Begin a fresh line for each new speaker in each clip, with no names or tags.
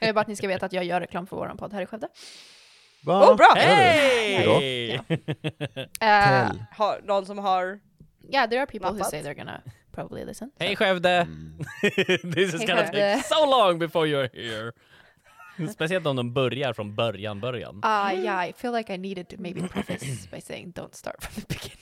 är bara att ni ska veta att jag gör reklam för vår podd här i Skövde.
Va?
Oh, bra!
Gör du?
Hej!
Idag?
Eh,
Tell.
Har, någon som har...
yeah, there are people who
Mappat.
say they're gonna probably listen.
Hej Skövde!
Mm.
This is
Hej,
gonna
Skövde.
take so long before you're here. Mm. Speciellt om de börjar från början, början.
Ah, yeah, I feel like I needed to maybe preface by saying don't start from the beginning.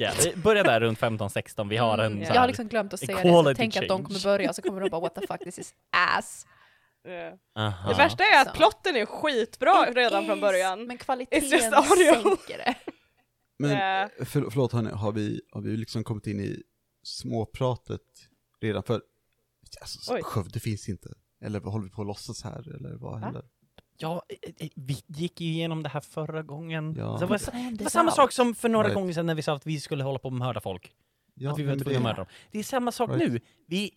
Ja, vi börjar där runt 15-16, vi har en
Mm,
så
Jag har
här,
liksom glömt att säga det, så
Equality
tänk att de
change.
kommer börja och så kommer de bara what the fuck, this is ass.
eh,
aha.
Det värsta är
Så.
att plotten är skitbra redan från
Is,
början.
Men kvaliteten
It's just audio.
sänker det.
Men
Eh,
för, förlåt hörni, har vi, har vi liksom kommit in i småpratet redan? För alltså,
Oj.
Skövde finns inte. Eller vad håller vi på att låtsas här? Eller vad händer?
Ja, eh, eh, vi gick ju igenom det här förra gången.
Ja.
Så det var, det var samma sak som för några gånger sedan när vi sa att vi skulle hålla på och mörda folk.
Ja,
att vi var
men
tvungna att
det-
mörda dem. Det är samma sak
Right.
nu. Vi,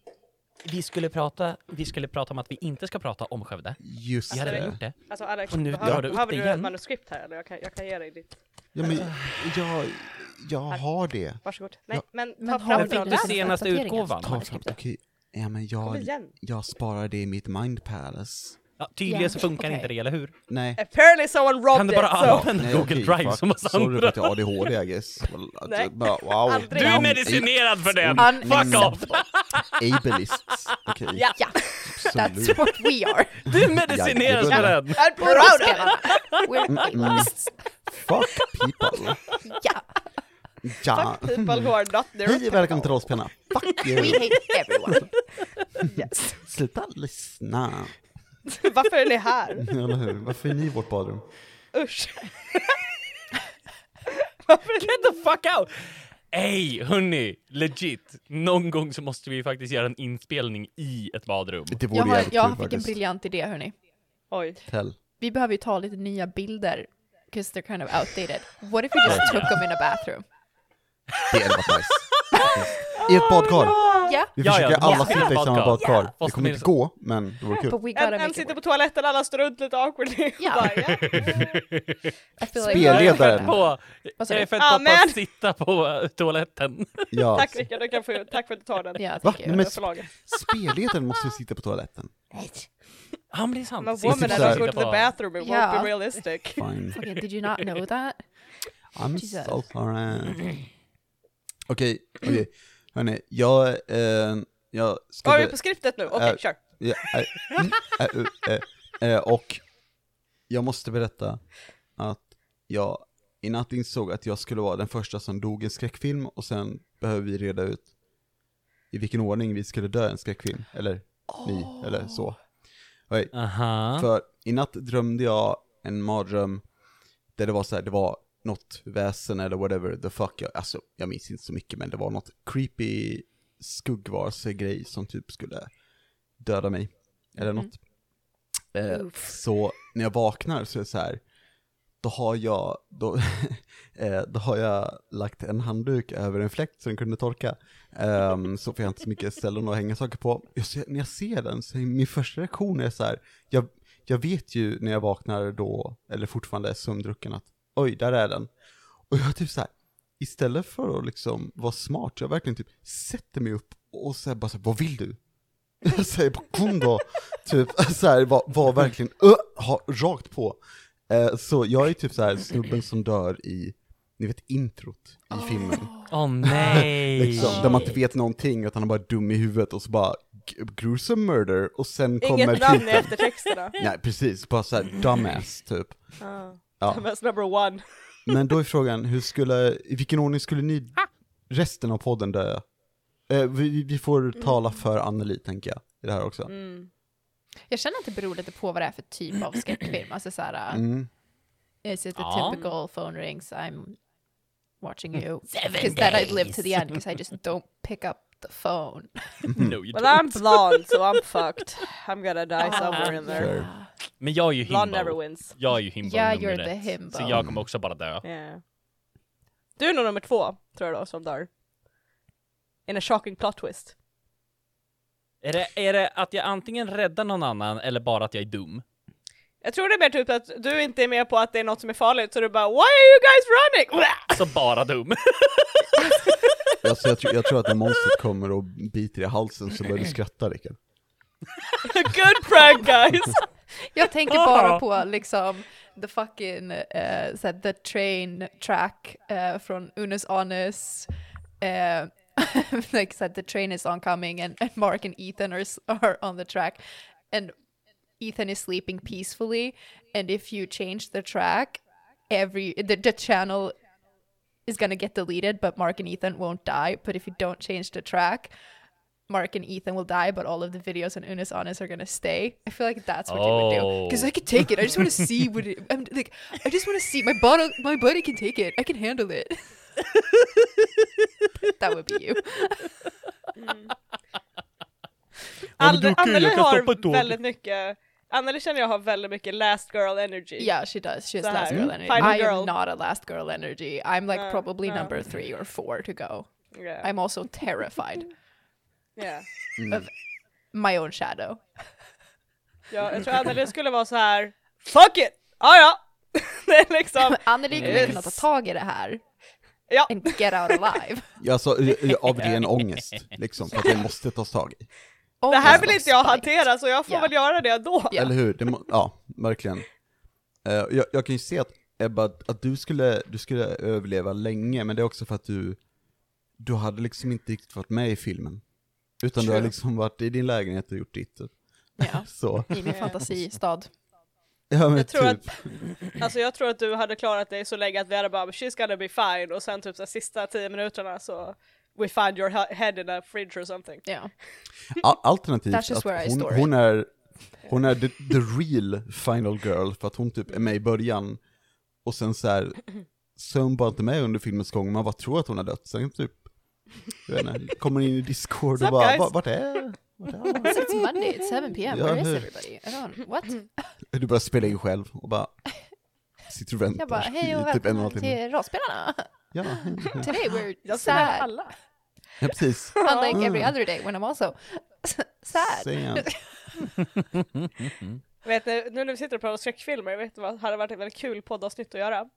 vi, skulle prata, vi skulle prata om att vi inte ska prata om Skövde.
Just
Vi hade
det.
redan gjort det.
alltså Alex,
Och nu
behöver,
drar du upp
behöver
det
du ett
igen.
manuskript här eller? Jag kan, jag kan ge dig ditt.
Ja, men
Alltså.
jag, jag har det.
Varsågod. Nej,
Ja.
men ta
Men har
fram
vi
fick
rollen.
du senaste
uppdateringen?
utgåvan?
Ta fram, okej. Ja, men
Kom
jag,
igen.
jag sparar det i mitt mind palace.
Ja, tydligen
Ja,
så funkar
okej.
inte det, eller hur?
Nej.
Apparently someone robbed
Kan du bara
it! So.
använda
Nej,
Google
okej,
Drive
fuck.
som oss
Sorry för
andra?
att jag har ADHD I guess. Well, att
Nej.
jag bara, wow.
Aldrig.
Du är
Damn,
medicinerad för den!
Un-
Fuck off!
Ableists. Okej,
Ja,
Ja,
absolut.
that's what we are.
Du är medicinerad
Ja,
för
det är
den!
I'm
We're
proud of it!
spelarna.
Mm,
We're ableists.
Fuck people.
Ja,
Ja.
Fuck people who are not there.
Hej och välkommen till Rollspelarna. Fuck
we
you.
hate everyone.
Yes.
Sluta lyssna.
Varför är ni här?
Eller hur? Varför är ni i vårt badrum?
Usch. Varför är ni...
Get the fuck out! Ey, hörni, legit. Någon gång så måste vi faktiskt göra en inspelning i ett badrum.
Det vore
Jag, har,
jävligt
jag
kul
fick en
faktiskt.
briljant idé hörni.
Oj.
Tell.
Vi behöver ju ta lite nya bilder, because they're kind of outdated. What if we just took them in a bathroom?
Det hade varit nice. I ett badkar.
Yeah,
Vi
Ja, ja,
försöker
det
alla
måste
sitta
vara
i samma
badkar.
badkar.
Ja.
Det kommer inte gå, men det vore kul.
but we
En,
gotta
en
make it
sitter
work.
på toaletten, alla står runt lite awkwardly.
Ja.
Bara, ja.
I feel like-
Spelledaren.
På,
Vad sa
jag
du?
är fett
Ah,
på
men-
att sitta på eh, toaletten.
Ja.
Tack Rickard, du kan få, tack för att du tar den.
Ja,
Va?
thank
Nej,
you.
men-
Det är för laget.
Spelledaren måste ju sitta på toaletten.
Ja, men det är sant.
Men
Sitta-
woman
typ
has
så
to
här-
go to the bathroom, it won't
Ja.
be realistic.
Fine.
Fucking, did you not know that?
I'm
Jesus.
so sorry. Okej, okej. Hörni, jag... Eh, jag
Var vi
skulle...
på skriptet nu? Okej,
Eh,
kör.
Ja, eh, mm, eh, eh, eh, eh, och jag måste berätta att jag i natt insåg att jag skulle vara den första som dog i en skräckfilm och sen behöver vi reda ut i vilken ordning vi skulle dö i en skräckfilm, eller ni, eller så. Okej,
Aha.
för i natt drömde jag en mardröm där det var så här, det var något väsen eller whatever the fuck, jag, alltså jag minns inte så mycket men det var något creepy skuggvarelse-grej som typ skulle döda mig. Eller något. Eh,
Oof.
så när jag vaknar så är det så här, då har jag, då, eh, då har jag lagt en handduk över en fläkt så den kunde torka. Ehm, så får jag inte så mycket ställen att hänga saker på. Jag ser, när jag ser den så är min första reaktion är så här, jag, jag vet ju när jag vaknar då, eller fortfarande är sömndrucken att oj, där är den. Och jag typ så här, istället för att liksom vara smart, jag verkligen typ sätter mig upp och säger bara så här, vad vill du? Jag säger bara kom då, typ så här, var, var verkligen, ö, ha, rakt på. Eh, så jag är typ så här snubben som dör i, ni vet introt
Ah.
i filmen.
Åh nej!
Liksom, där man inte vet någonting, utan han bara är dum i huvudet och så bara g- gruesome murder och sen kommer
Inget namn i
titeln.
eftertexterna.
Nej precis, bara såhär dumbass typ. Ja.
That's number one.
Men då är frågan, hur skulle, i vilken ordning skulle ni resten av podden dö? Eh, vi, vi får tala för Anneli tänker jag, i det här också.
Mm.
Jag känner att det beror lite på vad det är för typ av skräckfilm. Alltså såhär,
Mm.
is it the
Ja.
typical phone rings I'm watching
Mm.
you? Because then I'd live to the end, because I just don't pick up the phone.
Mm.
No, you
Well
don't.
I'm blonde so I'm fucked. I'm gonna die somewhere in there.
Fair.
Men jag är ju
Ah. Blonde never
himbo.
wins.
Jag är ju himbo
Ah. Yeah,
nummer
you're
ett.
the himbo.
Så jag kommer också bara dö.
Yeah. Du är nog nummer två, tror jag då, som dör. In a shocking plot twist.
Är det, är det att jag antingen räddar någon annan eller bara att jag är dum?
Jag tror det är mer typ att du inte är med på att det är något som är farligt, så du bara Why are you guys running?
Så bara dum.
Alltså, jag, tror- jag tror att när monstret kommer och biter i halsen så börjar du skratta Rickard.
Good prank guys!
Jag tänker bara på liksom the fucking eh, så här, the train track eh, från Unus Anus. eh, like said, the train is oncoming and, and Mark and Ethan are, s- are on the track and Ethan is sleeping peacefully and if you change the track, every the, the channel is gonna get deleted, but Mark and Ethan won't die. But if you don't change the track, Mark and Ethan will die, but all of the videos on Unis Honest are gonna stay. I feel like that's what you would do because
Oh.
I could take it. I just want to see what it, I'm like. I just want to see my body. My body can take it. I can handle it. that would be you.
Anneli
du kan ju, jag kan stoppa ett
Mm. har
tåg.
väldigt mycket, Anneli känner jag har väldigt mycket last girl energy.
Yeah, she does. She has
Så
last
här,
girl energy.
final
I
girl.
am not a last girl energy. I'm like
Uh,
probably
uh. Oh.
number three or four to go.
Yeah.
I'm also terrified.
Yeah.
My own shadow.
Ja, jag tror Anneli skulle vara så här. fuck it! Ah, ja. det är liksom,
Anneli kommer
Yes.
kunna ta tag i det här
ja.
and get out alive.
Ja, Alltså eh, eh, av ren ångest, liksom, för att det måste tas tag i.
Oh
Det
my
här
God,
vill inte jag
spiked.
hantera så jag får
Ja.
väl göra det då.
Ja.
Eller hur? Det må, ja, verkligen. Eh, jag, jag kan ju se att Ebba, att- att du skulle, du skulle överleva länge, men det är också för att du, du hade liksom inte riktigt varit med i filmen. Utan du har
True.
liksom varit i din lägenhet och gjort ditt. typ.
Ja,
Så,
I min fantasistad.
ja men
Jag tror
typ.
Alltså jag tror att du hade klarat dig så länge att vi hade bara “she's gonna be fine” och sen typ så här, sista tio minuterna så “we find your he- head in a fridge or something”.
Ja.
Al- alternativt
That's just
att
where I
hon,
store
hon är, hon är the, the real final girl för att hon typ är med i början och sen så här så är hon bara inte med under filmens gång, man bara tror att hon har dött, sen typ jag vet inte, kommer in i discord och
Sup,
bara
guys?
"Va- vart är, vart är
So it's Monday, it's 7 p.m.
Ja,
Where is
hur?
everybody? I don't, what?
hon?" Du börjar spela in själv och bara sitter och väntar
Jag bara, hej och
i typ en
välkomna
och en halv timme.
till Rollspelarna!
Ja, hej.
Today we're
Jag ser
sad,
alla.
ja, precis.
unlike every
Mm.
other day when I'm also sad.
Sen.
Vet ni, nu när vi sitter och pratar om skräckfilmer, vet du vad hade varit ett väldigt kul poddavsnitt att göra?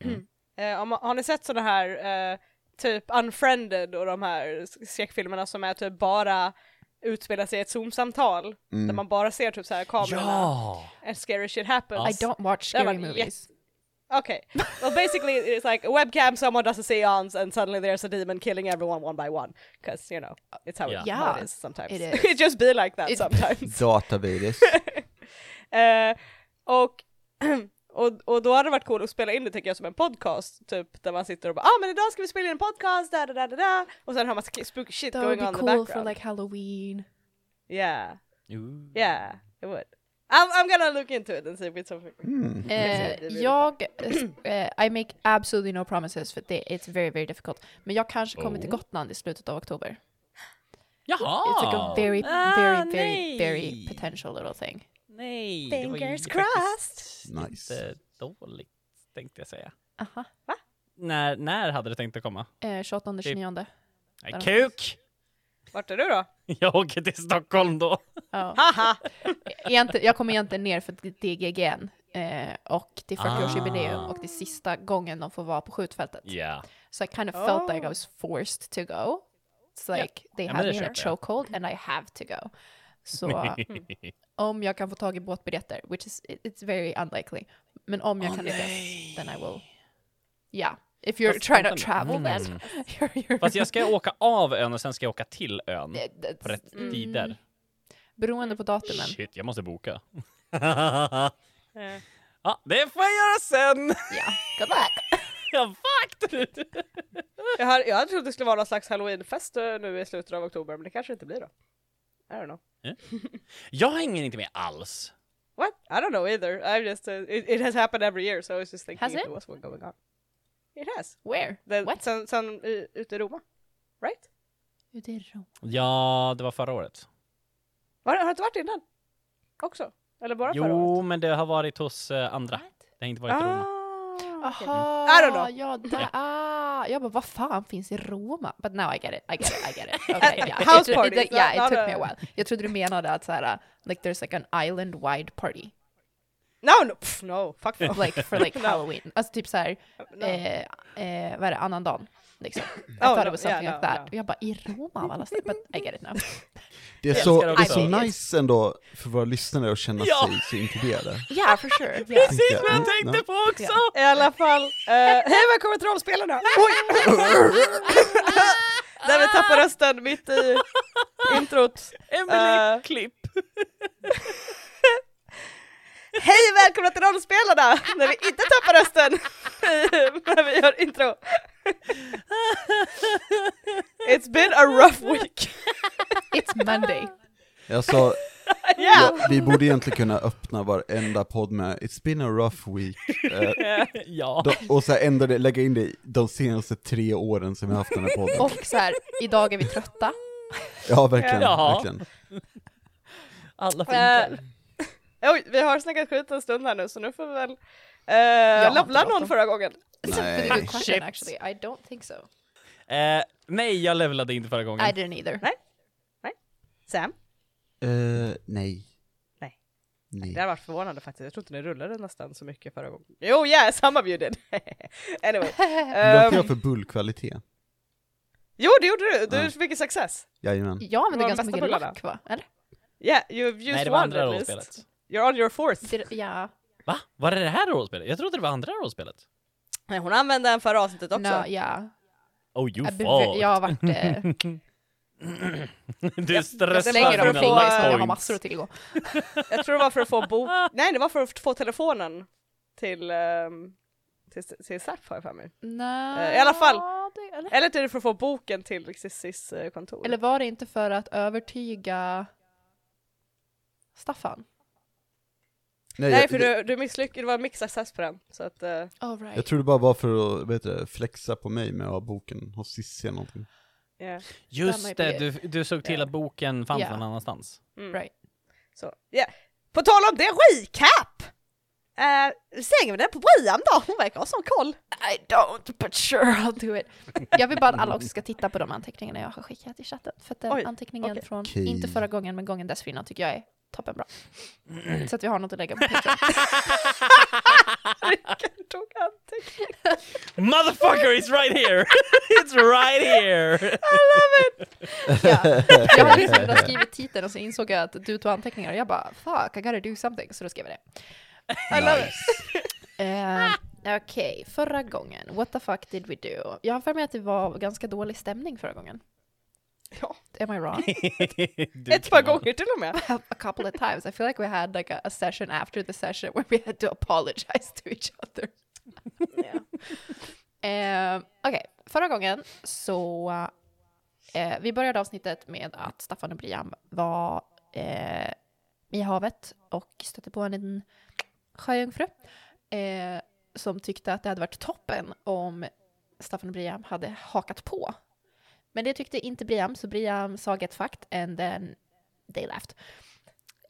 Mm.
eh, om, har ni sett sådana här eh, typ Unfriended och de här skräckfilmerna som är typ bara utspelar sig i ett zoomsamtal där man bara ser typ så här kamerorna
Mm. Ja! Alltså.
and scary shit happens.
I don't watch
Det var
scary movies.
Okay. Well, basically, it's like a webcam, someone does a seance, and suddenly there's a demon killing everyone one by one. Because, you know, it's how, it-
Yeah.
how
Yeah,
it is sometimes.
it
It,
is.
just be like that
It-
sometimes.
Datavirus.
Eh, och, och, och då hade det varit coolt att spela in det tycker jag som en podcast, typ där man sitter och bara ah men idag ska vi spela in en podcast, da da da da da och sen har man sk- spooky shit
That would
going on
be
in the
cool
background.
for like Halloween.
Yeah,
Ooh.
yeah, it would. I'm, I'm gonna look into it and see if it's something.
Hmm.
Eh,
det blir
jag, eh, I make absolutely no promises för det it's very very difficult. Men jag kanske kommer till
Oh.
Gotland i slutet av oktober.
Jaha!
It's like a very
Ah,
very very
nej.
very potential little thing.
Nej, det var ju
Fingers
faktiskt
crossed.
Inte dåligt, tänkte jag säga.
Aha.
När, när hade det tänkt att komma?
Eh, 28
Typ.
29.
Nej,
Ja.
kuk!
Vart är du då?
Jag åker till Stockholm då.
Ja.
Haha!
Egentligen, jag kommer egentligen ner för DGGN eh, och det är 40-årsjubileum
Ah.
och det är sista gången de får vara på skjutfältet.
Yeah.
So I kind of felt like I
Oh.
was forced to go. It's like they
Ja, men
had
det
me in a
köper jag.
chokehold and I have to go. uh, Så om jag kan få tag i båtbiljetter, which is it- it's very unlikely. Men om jag kan lyckas, then I will. Yeah, if you're
Fast
trying to
vänta nu.
travel then. You're, you're...
Fast jag ska åka av ön och sen ska jag åka till ön.
Eh, that's-
På rätt tider.
Beroende på datumen.
Shit, jag måste boka.
Eh,
Ja, det får jag göra sen!
Yeah, good luck.
Jag fucked!
Jag hade, jag hade trott det skulle vara någon slags halloweenfest eh, nu i slutet av oktober, men det kanske inte blir då. I don't know.
Jag hänger inte med alls.
What? I don't know either. I'm just uh, it, it has happened every year, so I was just thinking
Has
if
it?
there was one going on. It has.
Where?
Den,
What?
Sen, sen i- ute i Roma. Right?
Ute i Rom.
Ja, det var förra året.
Var, har det inte varit innan? Också? Eller bara förra året?
Jo, men det har varit hos eh, andra. Det har inte varit i Roma.
Ah, okej.
Aha,
I don't know.
ja där, ah, jag bara vad fan finns i Roma? But now I get it, I get it, I get it. Okay,
Yeah,
yeah.
house
It-
parties,
it- yeah, it
not-
took
not
me a
a-
while. Jag trodde du menade att såhär, like there's like an island wide party.
No, no, pff, no, fuck no.
like for like
No.
halloween. Alltså typ såhär,
No.
eh, eh, vad är det, annandagen? Liksom. I
Oh,
thought
no,
it was
yeah,
something like
no,
that.
no.
Och jag bara, i Roma av alla ställen? But I get it now.
Det är
Jag
så,
älskar
det är
också.
så
I hate it.
nice ändå för våra lyssnare att känna
Ja.
sig så inkluderade.
Yeah, for sure. Yeah.
Precis vad
Mm,
jag tänkte
ja.
på också!
I alla fall, eh, hej välkommen till rollspelarna! Oj! Där vi tappar rösten mitt i introt.
Emily
Eh.
klipp!
Hej och välkomna till rollspelarna! När vi inte tappar rösten när vi gör intro. It's been a rough week.
It's Monday.
Alltså,
Yeah.
ja, vi borde egentligen kunna öppna varenda podd med It's been a rough week, eh,
Ja.
då- och så här ändra det, lägga in det i de senaste tre åren som vi har haft den här podden.
Och så här, idag är vi trötta.
Ja, verkligen.
Jaha.
verkligen.
Alla
Eh,
funkar.
Oj, vi har snackat skit en stund här nu så nu får vi väl
har
uh,
inte
levla någon
bråttom.
förra gången.
That's a
Nej.
good question
Chips.
actually. I don't think so.
Eh, nej, jag levlade inte förra gången.
I didn't either.
Sam?
Eh, nej.
Nej.
Nej.
Det här var förvånande faktiskt, jag tror inte ni rullade nästan så mycket förra gången. Jo, yeah, some of you did! anyway.
Låter
Ehm,
jag för bullkvalitet?
jo, det gjorde du! Du
Ja.
fick ju success!
Jajamän.
Jag använde
Våra
ganska
bästa
mycket
bullar då?
lack va? Eller?
Yeah, you've used
nej, det var
one
andra
at least.
rollspelet.
You're on your fourth.
Did- Ja.
Va? Var det det här rollspelet? Jag trodde det var andra rollspelet.
Nej, hon använde en förra avsnittet också.
No, ja.
Oh you
Jag
fuck!
bev- Jag har varit... eh,
du
Jag
stressar
slänger dem
mina
på... eh,
få-
life
eh,
Jag har
points.
massor att tillgå.
Jag tror det var för att få bo... Nej, det var för att få telefonen till, ehm, till, till Zapp har jag för mig.
Nej.
i alla fall.
det- Eller?
Eller till för att få boken till Cissis eh, kontor.
eller var det inte för att övertyga Staffan?
Nej,
jag-
för du, du misslyckades, det var mix access på den. Så att, eh,
All right.
Jag tror det bara var för att, vet du, flexa på mig med att ha boken hos Cissi eller någonting.
yeah.
That
Just
might
det,
be
du, du såg till
Yeah.
att boken fanns
Yeah.
någon annanstans.
Right.
Mm. Så, yeah. På tal om det, recap! Uh, slänger vi den på Brian då? Hon verkar ha sån koll.
I don't, but sure I'll do it. Jag vill bara att alla också ska titta på de anteckningarna jag har skickat i chatten. För att den
Oj,
anteckningen
okej.
från,
Okej.
inte förra gången, men gången dessförinnan tycker jag är toppenbra. Så att vi har något att lägga på Patreon.
Rickard tog anteckning.
Motherfucker it's right here! it's right here! Mhm,
ja. Jag hade liksom redan skrivit titeln och så insåg jag att du tog anteckningar och jag bara fuck, I gotta do something. Så då skrev jag det.
Nice.
Eh, Okej, förra gången, what the fuck did we do? Jag har för mig att det var ganska dålig stämning förra gången.
Ja,
Am I wrong?
Du
ett par
kan-
gånger till och med.
a couple of times. I feel like we had like a, a session after the session where we had to apologize to each other. Eh, Okej, förra gången så eh, vi började avsnittet med att Staffan och Brian var eh, i havet och stötte på en liten sjöjungfru eh, som tyckte att det hade varit toppen om Staffan och Brian hade hakat på. Men det tyckte inte Brian, så Brian sa get fucked and then they left.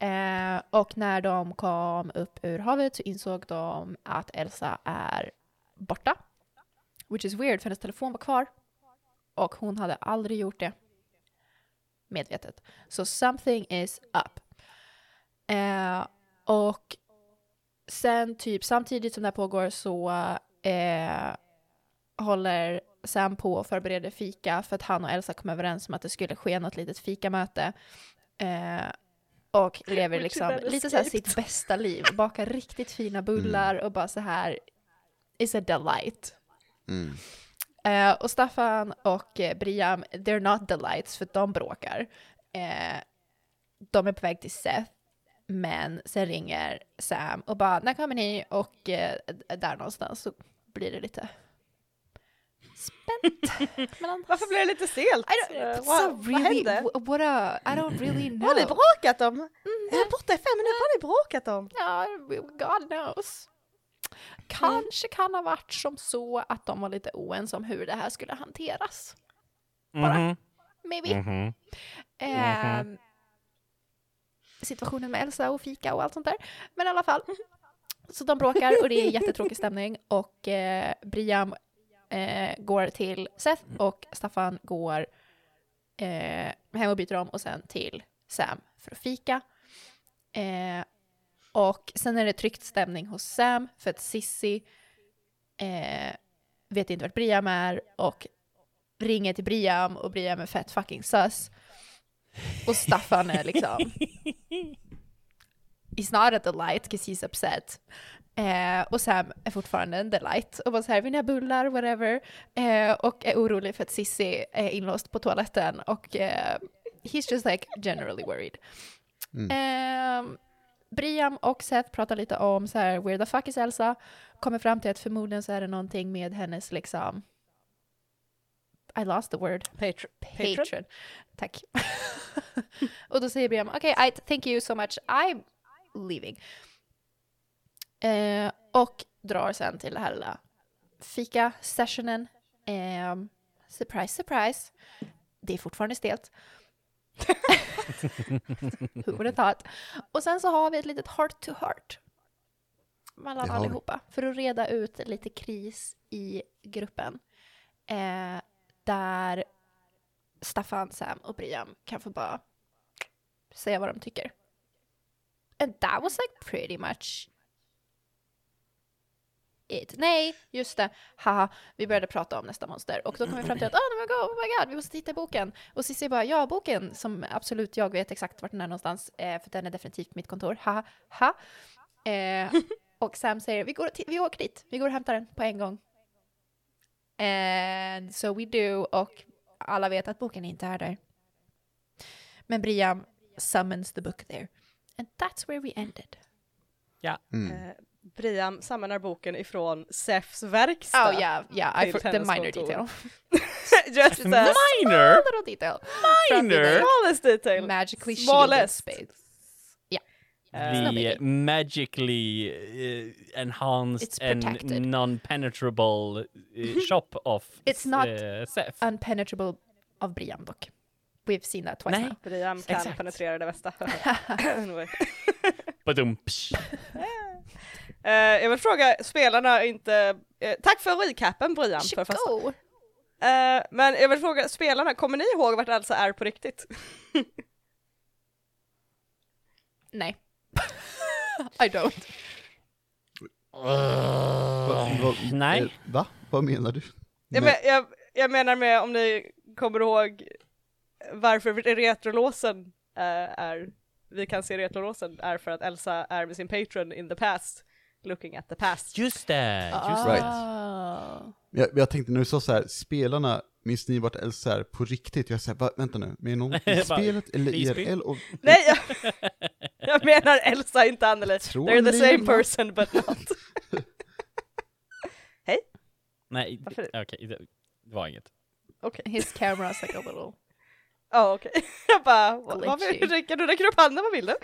Eh, och när de kom upp ur havet så insåg de att Elsa är borta. Which is weird, för hennes telefon var kvar. Och hon hade aldrig gjort det. Medvetet. Så something is up. Eh, och sen typ samtidigt som det här pågår så eh, håller Sam på och förbereder fika för att han och Elsa kom överens om att det skulle ske något litet fikamöte. Eh, och lever
Which
liksom
is an
lite så här
escape.
sitt bästa liv. Bakar riktigt fina bullar och bara så här is a delight.
Mm.
Eh, och Staffan och eh, Briam, they're not delights för att de bråkar. Eh, de är på väg till Seth, men sen ringer Sam och bara när kommer ni? Och eh, där någonstans så blir det lite spänt. mellan
Varför blev det lite stelt?
I
Eh,
don't,
vad-
so
vad
really,
hände?
wh- what a, I don't really know.
Vad har ni bråkat om? Jag är borta i fem minuter, vad har ni bråkat om?
Ja, God knows. Kanske kan ha varit som så att de var lite oense om hur det här skulle hanteras.
Mhm,
Maybe.
mhm.
Ehm, situationen med Elsa och fika och allt sånt där. Men i alla fall. Så de bråkar och det är jättetråkig stämning och eh, Briam eh, går till Seth och Staffan går eh, hem och byter om och sen till Sam för att fika. Eh, Och sen är det tryckt stämning hos Sam för att Sissi eh, vet inte vart Briam är och ringer till Briam och Briam är fett fucking sus. Och Staffan är liksom He's not a delight because he's upset. Eh, och Sam är fortfarande en delight och bara så här, vill ni ha bullar, whatever. Eh, och är orolig för att Sissi är inlåst på toaletten och eh, he's just like generally worried. Ehm, Briam och Seth pratar lite om så här, where the fuck is Elsa? Kommer fram till att förmodligen så är det någonting med hennes liksom I lost the word.
Patr-
Patron. Tack. och då säger Briam, okej, I thank you so much, I'm leaving. Eh, och drar sen till det här lilla fika-sessionen. Ehm, surprise, surprise. Det är fortfarande stelt. Who would have thought? Och sen så har vi ett litet heart to heart. Mellan
Det har vi.
allihopa. För att reda ut lite kris i gruppen. Eh, där Staffan, Sam och Briam kan få bara säga vad de tycker. And that was like pretty much it. Nej, just det. Haha, vi började prata om nästa monster och då kom vi fram till att oh my god, oh my god, vi måste titta i boken. Och Cissi bara, ja boken som absolut jag vet exakt vart den är någonstans eh, för den är definitivt på mitt kontor. Haha, ha. Eh, och Sam säger, vi, går och ti- vi åker dit, vi går och hämtar den på en gång. And so we do och alla vet att boken inte är där. Men Briam summons the book there. And that's where we ended.
Mm.
Eh, Briam samlar boken ifrån Sefs verkstad.
Oh yeah, yeah, I
Till
for, the
hennes
minor
kontor.
detail.
Just the
Minor?
Little detail. From
Minor?
the
smallest detail.
Magically shielded
Smallest.
space.
Eh,
not
The
big.
magically uh,
It's
enhanced and
protected.
non-penetrable uh, shop of
It's not
uh, Seth.
Unpenetrable av Briam dock. We've seen that twice
Nej.
now.
Briam kan
Exakt.
penetrera det mesta. Anyway.
Badum,
Eh, jag vill fråga spelarna inte, eh, tack för recapen Brian för fast,
Go!
Eh, men jag vill fråga spelarna, kommer ni ihåg vart Elsa är på riktigt?
Nej. I don't.
Va- va-
nej.
eh, Va? Vad menar du?
Jag, men,
Nej.
jag, jag menar med om ni kommer ihåg varför retrolåsen eh, är, vi kan se retrolåsen är för att Elsa är med sin patron in the past, looking at the past.
Just det! Just
Right.
Ah.
Jag, jag tänkte när du sa så här, spelarna, minns ni vart Elsa är på riktigt? Jag säger, va, vänta nu, menar hon i
Bara,
spelet eller
i spel?
IRL? Och,
Nej, jag, jag menar Elsa, inte Anneli.
Tror
They're the
ni
same
något?
person but not.
Nej,
Varför-
okej, det det var inget.
Okej.
His camera's like a little...
Ja okej. Jag bara, vad vad vill
Glitchy.
du? Rickard, du räcker upp handen, vad vill du?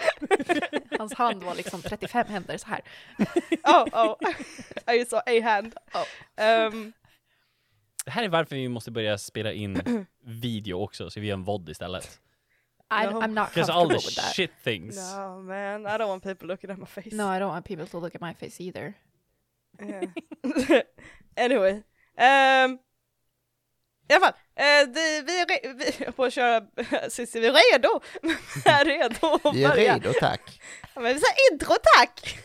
Hans hand var liksom 35 händer så här.
Oh, oh. I saw a hand. Ehm,
Det här är varför vi måste börja spela in video också, så vi gör en vod istället.
I,
No.
I'm not
Because all
comfortable
the
with that.
shit things.
no man, I don't want people looking at my face.
No, I don't want people to look at my face either.
Yeah. anyway. ehm, I alla fall, eh, det, vi är re- vi, jag får köra, Cissi, vi är redo. vi är redo att
vi är
börja.
redo, tack.
Ja, Men vi säger intro tack!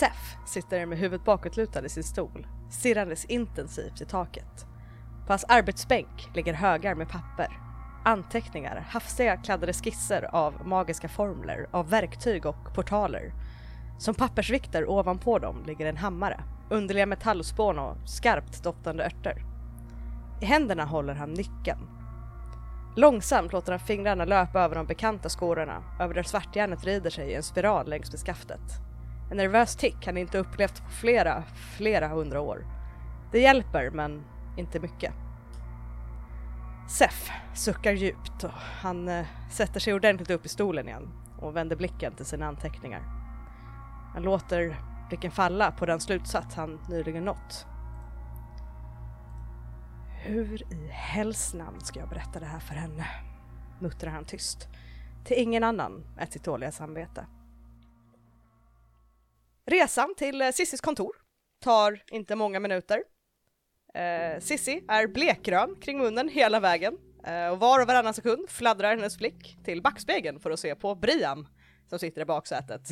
Sef sitter med huvudet bakåtlutad i sin stol, stirrandes intensivt i taket. På hans arbetsbänk ligger högar med papper. Anteckningar, hafsiga kladdade skisser av magiska formler, av verktyg och portaler. Som pappersvikter ovanpå dem ligger en hammare. underliga metallspån och skarpt doftande örter. I händerna håller han nyckeln. Långsamt låter han fingrarna löpa över de bekanta skorna, över där svartjärnet rider sig i en spiral längs med skaftet. En nervös tick han inte upplevt på flera, flera hundra år. Det hjälper, men inte mycket. Sef suckar djupt och han eh, sätter sig ordentligt upp i stolen igen och vänder blicken till sina anteckningar. Han låter blicken falla på den slutsats han nyligen nått. Hur i hells namn ska jag berätta det här för henne? muttrar han tyst. Till ingen annan än sitt dåliga samvete. Resan till eh, Sissis kontor tar inte många minuter. Eh, Sissi är blekgrön kring munnen hela vägen eh, och var och varannan sekund fladdrar hennes blick till backspegeln för att se på Brian som sitter i baksätet.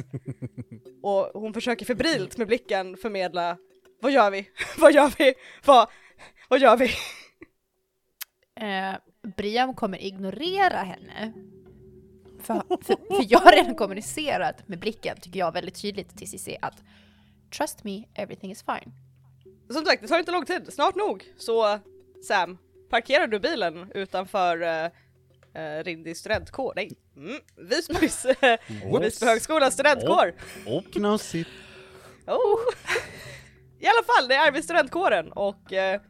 och hon försöker febrilt med blicken förmedla vad gör vi? vad gör vi? Vad, vad gör vi?
Eh, Brian kommer ignorera henne. För, för, för jag har redan kommunicerat med blicken, tycker jag, väldigt tydligt till Cissi att Trust me, everything is fine.
Som sagt, det tar inte lång tid. Snart nog så Sam, parkerar du bilen utanför uh, Rindis studentkår? Nej, mm, Visbys, eh,
Mm.
Visby högskolas studentkår.
Och
Knasigt.
Oh. I alla fall, det är vid studentkåren och eh,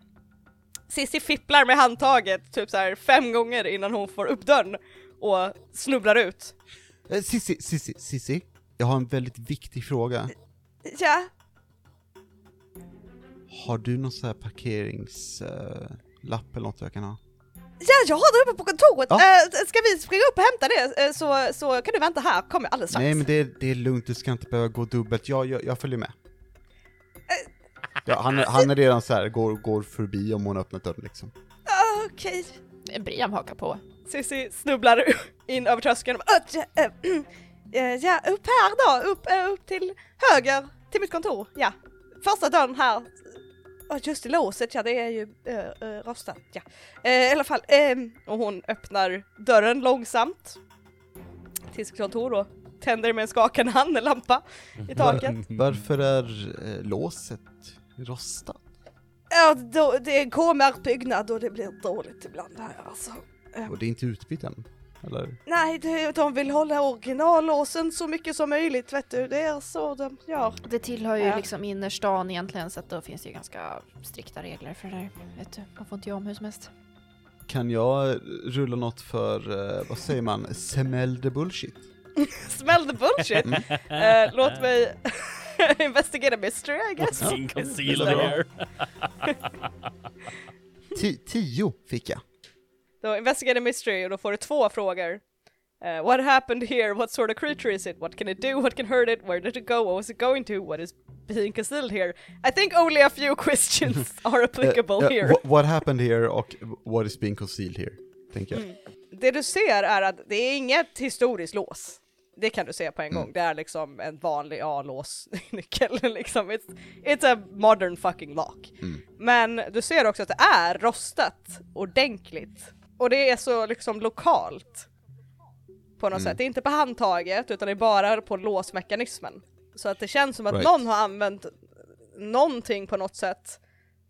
Cissi fipplar med handtaget typ så här fem gånger innan hon får upp dörren och snubblar ut.
Eh, Sissi, Sissi, Sissi. Jag har en väldigt viktig fråga.
Ja,
Har du någon sån här parkeringslapp eller något jag kan ha?
ja jag har det uppe på kontoret.
Ja.
Eh, ska vi springa upp och hämta det eh, så, så kan du vänta här, kommer alldeles strax.
Nej men det, det är lugnt, du ska inte behöva gå dubbelt, jag, jag, jag följer med.
Eh.
Ja, han, är- han är redan så här, går, går förbi om hon har öppnat dörren liksom.
Mm.
Ah, Okej.
Eh, Brian hakar på.
Cissi snubblar in över tröskeln. och bara, "Öh, ja, eh, eh, Ja, upp här då, upp, eh, upp till höger till mitt kontor. Ja, första dörren här. Oh, just det, låset, ja det är ju eh, eh, rostat. Ja. Eh, I alla fall, ehm, och hon öppnar dörren långsamt till sitt kontor och tänder med en skakande hand en lampa i taket.
Varför är eh, låset rostat?
Ja, då, det är en KMR-byggnad och det blir dåligt ibland här alltså.
Och det är inte utbytt än? Eller?
Nej, det- de vill hålla originallåsen så mycket som möjligt, vet du. Det är så de gör.
Det tillhör ju
Ja.
liksom innerstan egentligen så att då finns det ju ganska strikta regler för det där. Vet du, man får inte göra om hur som helst.
Kan jag rulla något för, eh, vad säger man, semel the bullshit?
Smell the bullshit!
Mm.
Eh, låt mig investigera mystery, I guess.
Concealer.
Ti- tio fick jag. Eh,
Då investigate a mystery och då får du två frågor. Eh, what happened here? What sort of creature is it? What can it do? What can hurt it? Where did it go? What was it going to? What is being concealed here? I think only a few questions are applicable
Eh, eh,
here.
wha- what happened here och what is being concealed here? Tänker jag.
Det du ser är att det är inget historiskt lås. Det kan du se på en gång. Det är liksom en vanlig A-låsnyckel. Liksom. It's, it's a modern fucking lock. Men du ser också att det är rostat ordentligt. Och det är så liksom lokalt. På något sätt. Det är inte på handtaget utan det är bara på låsmekanismen. Så att det känns som att
Right.
någon har använt någonting på något sätt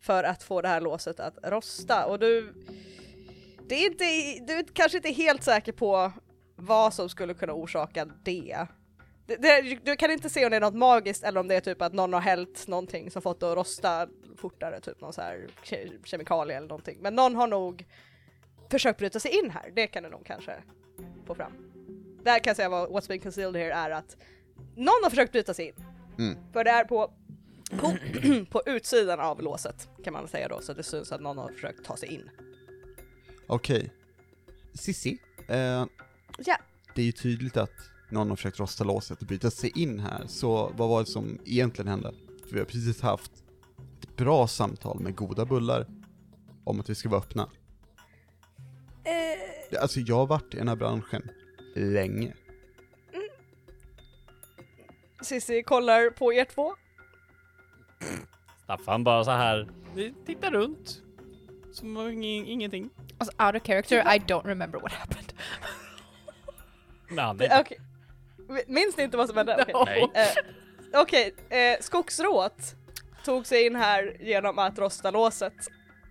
för att få det här låset att rosta. Och du, det är inte, du är kanske inte helt säker på vad som skulle kunna orsaka det. det, det du kan inte se om det är något magiskt eller om det är typ att någon har hällt någonting som fått det att rosta fortare, typ någon så här ke- kemikalie eller någonting. Men någon har nog försökt bryta sig in här, det kan du nog kanske få fram. Där kan jag säga vad What's been concealed here är att någon har försökt bryta sig in.
Mm.
För det är på, på, på utsidan av låset kan man säga då, så det syns att någon har försökt ta sig in.
Okej. Sissi, eh,
Ja,
det är ju tydligt att någon har försökt rosta låset och bryta sig in här, så vad var det som egentligen hände? För vi har precis haft ett bra samtal med goda bullar om att vi ska vara öppna. Det- Alltså jag har varit i den här branschen länge.
Sissi kollar på er två.
Staffan bara så här. Vi tittar runt. Som om ing- ingenting.
Alltså out of character, I don't remember what happened.
Nej, nej.
Det, Eh, okej. Minns ni inte vad som hände? Okej,
Nej.
eh, okej, eh, skogsrået tog sig in här genom att rosta låset.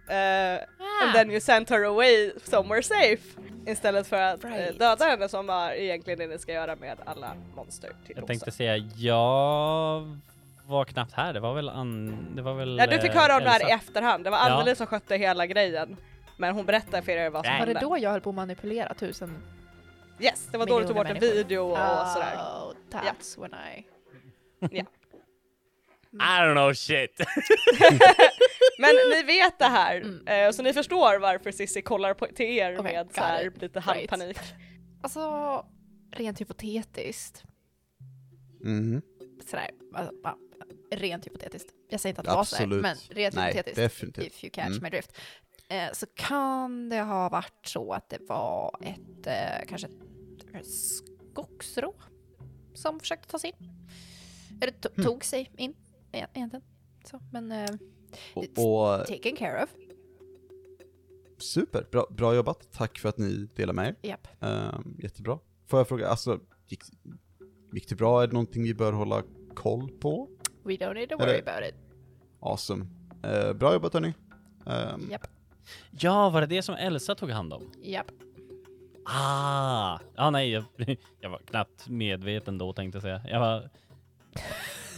Eh,
Ah.
And then you sent her away somewhere safe. Istället för att eh,
Right.
döda henne som var egentligen det ni ska göra med alla monster till
Jag
Rosa.
tänkte säga, jag var knappt här, det var väl an... Det var väl...
Ja, du fick
eh,
höra om det här
Elsa.
i efterhand, det var
Ja.
Anneli som skötte hela grejen. Men hon berättade för er vad som
Nej.
Var det
hände.
då jag höll på att manipulera tusen?
Yes, det var då du tog bort en
Miljoner
video och sådär.
Oh, that's when I...
I don't know shit.
Men ni vet det här, eh, så ni förstår varför Cissi kollar på, till er
Okej,
med
Mm. got
såhär,
it.
lite halvpanik.
Alltså, rent hypotetiskt.
Mhm.
Sådär, alltså, bara, rent hypotetiskt. Jag säger inte att det var sådär,
Absolut.
men rent
Nej,
hypotetiskt.
definitivt.
If you catch
Mm.
my drift. Eh, så kan det ha varit så att det var ett, eh, kanske ett, ett skogsrå som försökte ta sig in. Eller to- tog sig in, e- egentligen. Så, men eh,
Och, och eh,
taken care of.
super, bra, bra jobbat. Tack för att ni delar med er.
Japp.
Ehm, jättebra. Får jag fråga, alltså, gick, gick det bra? Är det någonting vi bör hålla koll på?
We don't need to worry
Eller-
about it.
Awesome. Eh, bra jobbat hörni. Ehm,
Japp,
Ja, var det det som Elsa tog hand om?
japp.
Ah! Ja, nej, jag, jag var knappt medveten då tänkte jag säga. Jag var...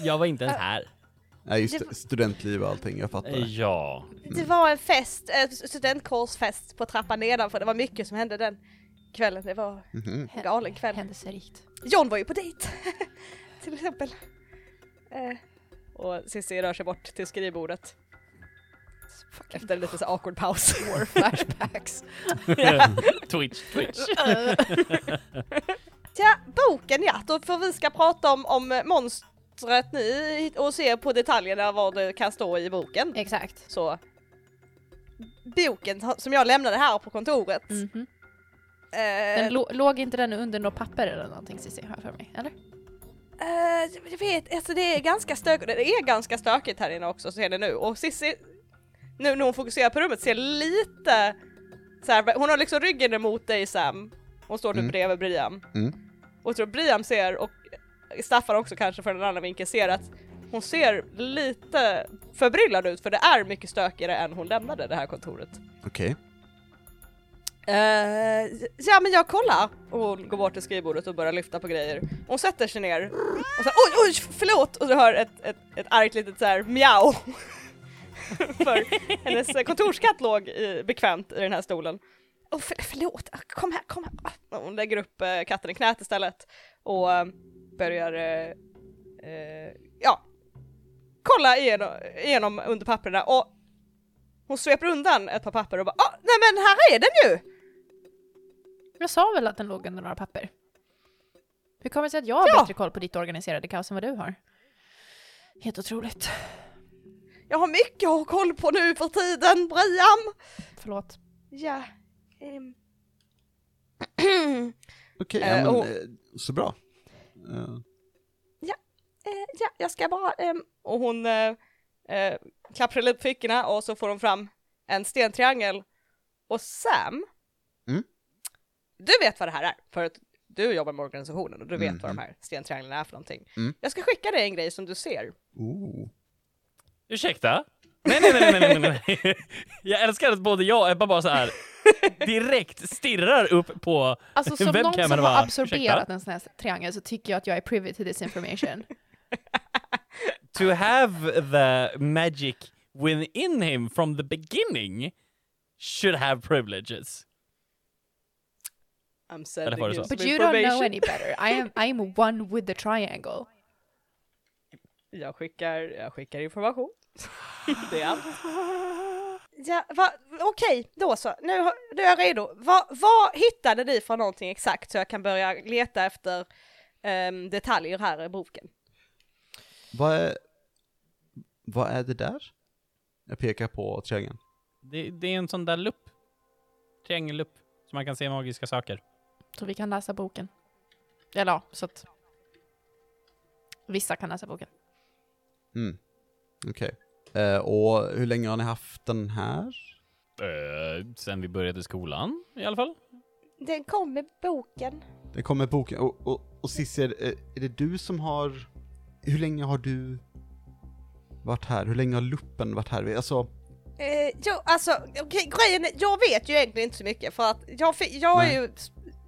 Jag var inte ens här.
Nej just
Det
det, studentliv och allting, jag fattar.
Eh, Ja.
Det var en fest, eh, studentkårsfest på trappan nedanför, det var mycket som hände den kvällen, det var
Mhm.
en galen kväll.
Händelserikt.
John var ju på dejt! till exempel. Eh. Och Cissi rör sig bort till skrivbordet
Fucking
efter en lite så här awkward paus.
war flashbacks.
Twitch, Twitch.
Tja, boken ja, då får vi ska prata om, om monstret ni och se på detaljerna vad det kan stå i boken.
Exakt.
Så boken ha- som jag lämnade här på kontoret.
Mhm.
Eh,
Den lå- låg inte den under något papper eller någonting Cissi, har jag för mig? Eller?
eh, jag vet, alltså det är ganska stökigt, det är ganska stökigt här inne också ser ni nu och Cissi nu när hon fokuserar på rummet ser lite så här, hon har liksom ryggen emot dig Sam. Hon står nu
Mm.
bredvid Briam.
Mm.
Och jag tror Briam ser och Staffan också kanske från en annan vinkel ser att hon ser lite förbryllad ut för det är mycket stökigare än hon lämnade det här kontoret.
Okej.
Eh, ja men jag kollar! Och hon går bort till skrivbordet och börjar lyfta på grejer. Hon sätter sig ner och så oj oj förlåt! Och du hör ett, ett, ett argt litet såhär mjau. För hennes kontorskatt låg i, bekvämt i den här stolen. Åh för, förlåt, Ah, kom här, kom här! Ah, Hon lägger upp eh, katten i knät istället och eh, börjar, eh, eh, ja, kolla igenom, igenom under papperna och hon sveper undan ett par papper och bara ah, nej men här är den ju!
Jag sa väl att den låg under några papper? Hur kommer det sig att jag har
Ja.
bättre koll på ditt organiserade kaos än vad du har? Helt otroligt.
Jag har mycket att ha koll på nu för tiden, Brian!
Förlåt.
Ja. ehm.
Okej,
Eh,
ja, men,
och-
eh, så bra. Eh,
Eh, ja, jag ska bara... ehm. Och hon eh, eh, klappar lite på fickorna och så får hon fram en stentriangel. Och Sam,
Mm.
du vet vad det här är, för att du jobbar med organisationen och du vet
Mm,
vad
mm.
de här stentrianglarna är för någonting.
Mm.
Jag ska skicka dig en grej som du ser.
oh.
Ursäkta?
Nej, nej, nej, nej, nej, nej, nej. Jag älskar att både jag och Ebba bara så här direkt stirrar upp på...
Alltså som
Webcam
någon som
eller
har
vad?
absorberat en sån här triangel så tycker jag att jag är privy to this information.
To have the magic within him from the beginning should have privileges.
I'm
Eller var
sending
det
you
så?
some
But you don't know
information.
any better. I am, I am one with the triangle.
Jag skickar, jag skickar information. det är allt. Ja, va, okej, då så. Nu, har- nu är jag redo. Va, vad hittade ni för någonting exakt så jag kan börja leta efter ehm, detaljer här i boken?
Vad är... Vad är det där? Jag pekar på triangeln.
Det, det är en sån där lupp. Triangellupp. Så man kan se magiska saker.
Så vi kan läsa boken. Eller ja, så att vissa kan läsa boken.
Mm. Okej. Eh, och hur länge har ni haft den här?
Eh, sen vi började skolan i alla fall.
Den kom med boken.
Det kommer boken, och, och, och Cissi, är, är det du som har... Hur länge har du varit här? Hur länge har luppen varit här? Alltså,
Eh, jo, alltså okej, grejen är, jag vet ju egentligen inte så mycket för att jag, fi- jag är
Nej.
ju,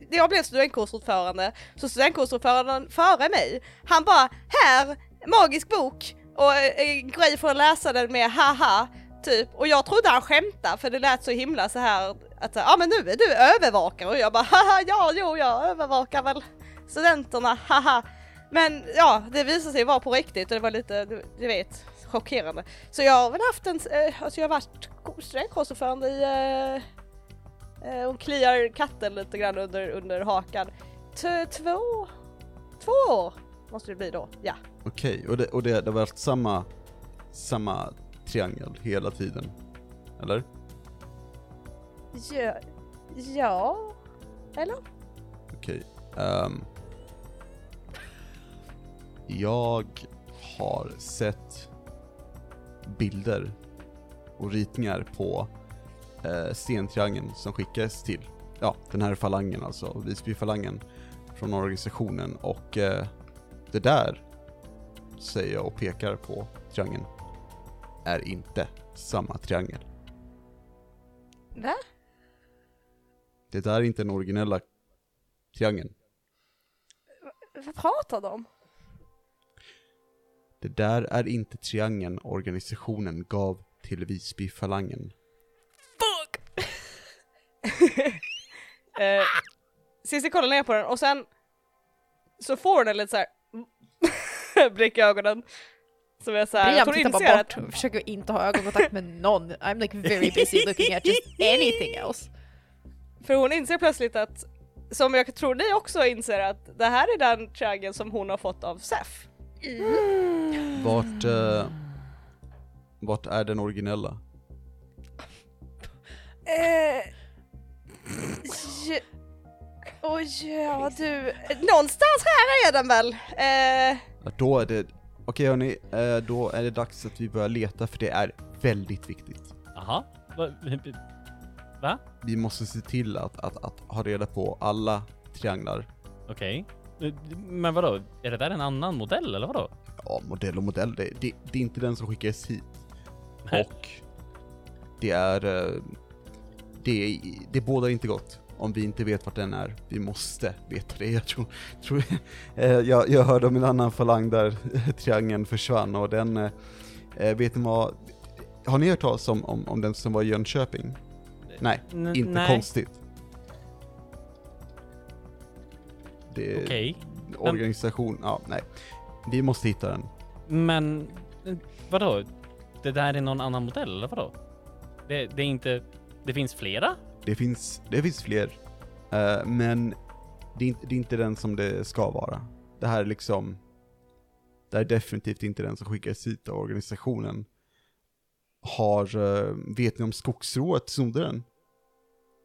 när jag blev studentkursordförande så studentkursordföranden före mig, han bara här, magisk bok och eh, eh, grej för att läsa den med haha typ och jag trodde han skämtade för det lät så himla så här att ja ah, men nu är du övervakare och jag bara haha ja jo jag övervakar väl studenterna haha men ja det visade sig vara på riktigt och det var lite, du, du vet chockerande. Så jag har väl haft en, eh, alltså jag har varit studentkonstordförande i, eh, eh, hon kliar katten lite grann under, under hakan. T- två, två år måste det bli då, ja.
okej, och, det, och det, det har varit samma, samma triangel hela tiden? Eller?
Ja, ja.
Okej. ehm. jag har sett bilder och ritningar på eh, stentriangeln som skickades till, ja, den här falangen alltså, Visbyfalangen från organisationen och eh, det där, säger jag och pekar på triangeln, är inte samma triangel.
Va?
Det där är inte den originella triangeln.
Vad pratar de om?
Det där är inte triangeln organisationen gav till Visbyfalangen.
Eh, Cissi kollar ner på den och sen så får hon en lite såhär blick i ögonen. Som är såhär,
Brian
hon
tittar
inser
bara
att-
bort och försöker inte ha ögonkontakt med någon. I'm like very busy looking at just anything else.
För hon inser plötsligt att, som jag tror ni också inser att det här är den triangeln som hon har fått av Sef. Mm.
Vart... Eh, vart är den originella?
Eh, j- Oj, ja du. Någonstans här är den väl? Eh,
Ja, Då är det... Okej hörni, eh, då är det dags att vi börjar leta för det är väldigt viktigt.
Aha. Va? Va?
Vi måste se till att, att, att ha reda på alla trianglar.
Okej. Men vadå, är det där en annan modell eller vadå?
Ja, modell och modell, det, det, det är inte den som skickades hit.
Nej.
Och det är... eh, Det, det bådar inte gott om vi inte vet vart den är. Vi måste veta det. Jag tror... tror eh, jag, jag hörde om en annan falang där triangeln försvann och den... eh, eh, Vet ni vad... Har ni hört talas om, om, om den som var i Jönköping? Nej,
N-
inte
nej.
konstigt. Det,
Okej.
Organisation, ja, nej. Vi måste hitta den.
Men eh, vadå? Det där är någon annan modell eller vadå? Det, det är inte... Det finns flera?
Det finns, det finns fler, eh, men det är, inte, det är inte den som det ska vara. Det här är liksom, det här är definitivt inte den som skickades hit av organisationen. Har, eh, vet ni om skogsrået snodde den?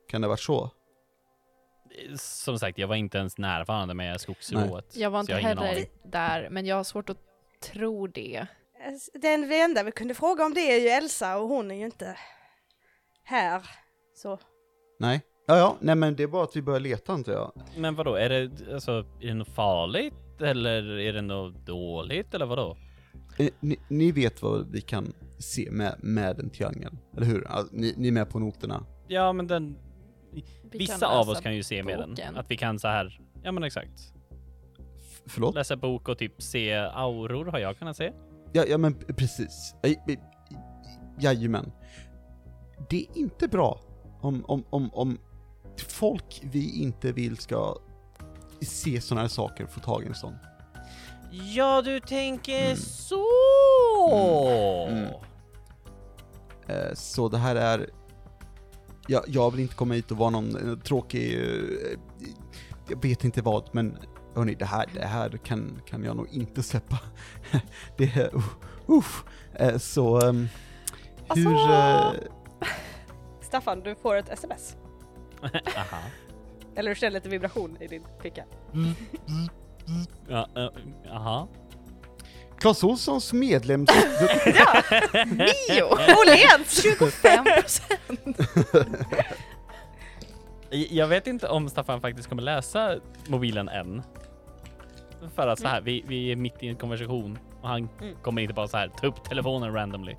Kan det ha varit så?
Eh, Som sagt, jag var inte ens närvarande med skogsrået.
Jag var
så
inte
har ingen
heller
aning.
där, men jag har svårt att tro det.
Alltså, den enda vi kunde fråga om det är ju Elsa och hon är ju inte här. Så.
Nej? Ja, ja, nej men det är bara att vi börjar leta antar jag.
Men vadå, är det, alltså, är det något farligt? Eller är det något dåligt? Eller vadå?
Eh, ni, ni vet vad vi kan se med, med en triangel, eller hur? Alltså, ni, ni är med på noterna.
Ja, men den...
Vi
vissa
kan
av
läsa
oss kan ju se med
boken.
den. Att vi kan så här... Ja, men exakt.
F- förlåt?
Läsa bok och typ se auror har jag kunnat se.
Ja, ja men precis. Ej, ej, Jajamän. Det är inte bra om, om, om, om folk vi inte vill ska se sådana här saker få tag i en sån.
Ja, du tänker så!
Mm. Eh, så det här är... Jag, jag vill inte komma hit och vara någon eh, tråkig... eh, Jag vet inte vad, men hörni, det här, det här kan, kan jag nog inte släppa. det är... Uh, Eh, så... ehm, hur...
Alltså-
eh,
Staffan, du får ett sms.
Aha.
Eller du känner lite vibration i din ficka.
Ja, eh, aha.
Clas Ohlsons medlems...
Nio!
Åhléns!
25 procent!
J- Jag vet inte om Staffan faktiskt kommer läsa mobilen än. För att så här, vi, vi är mitt i en konversation. Och han
Mm.
kommer inte bara så här ta upp telefonen randomly.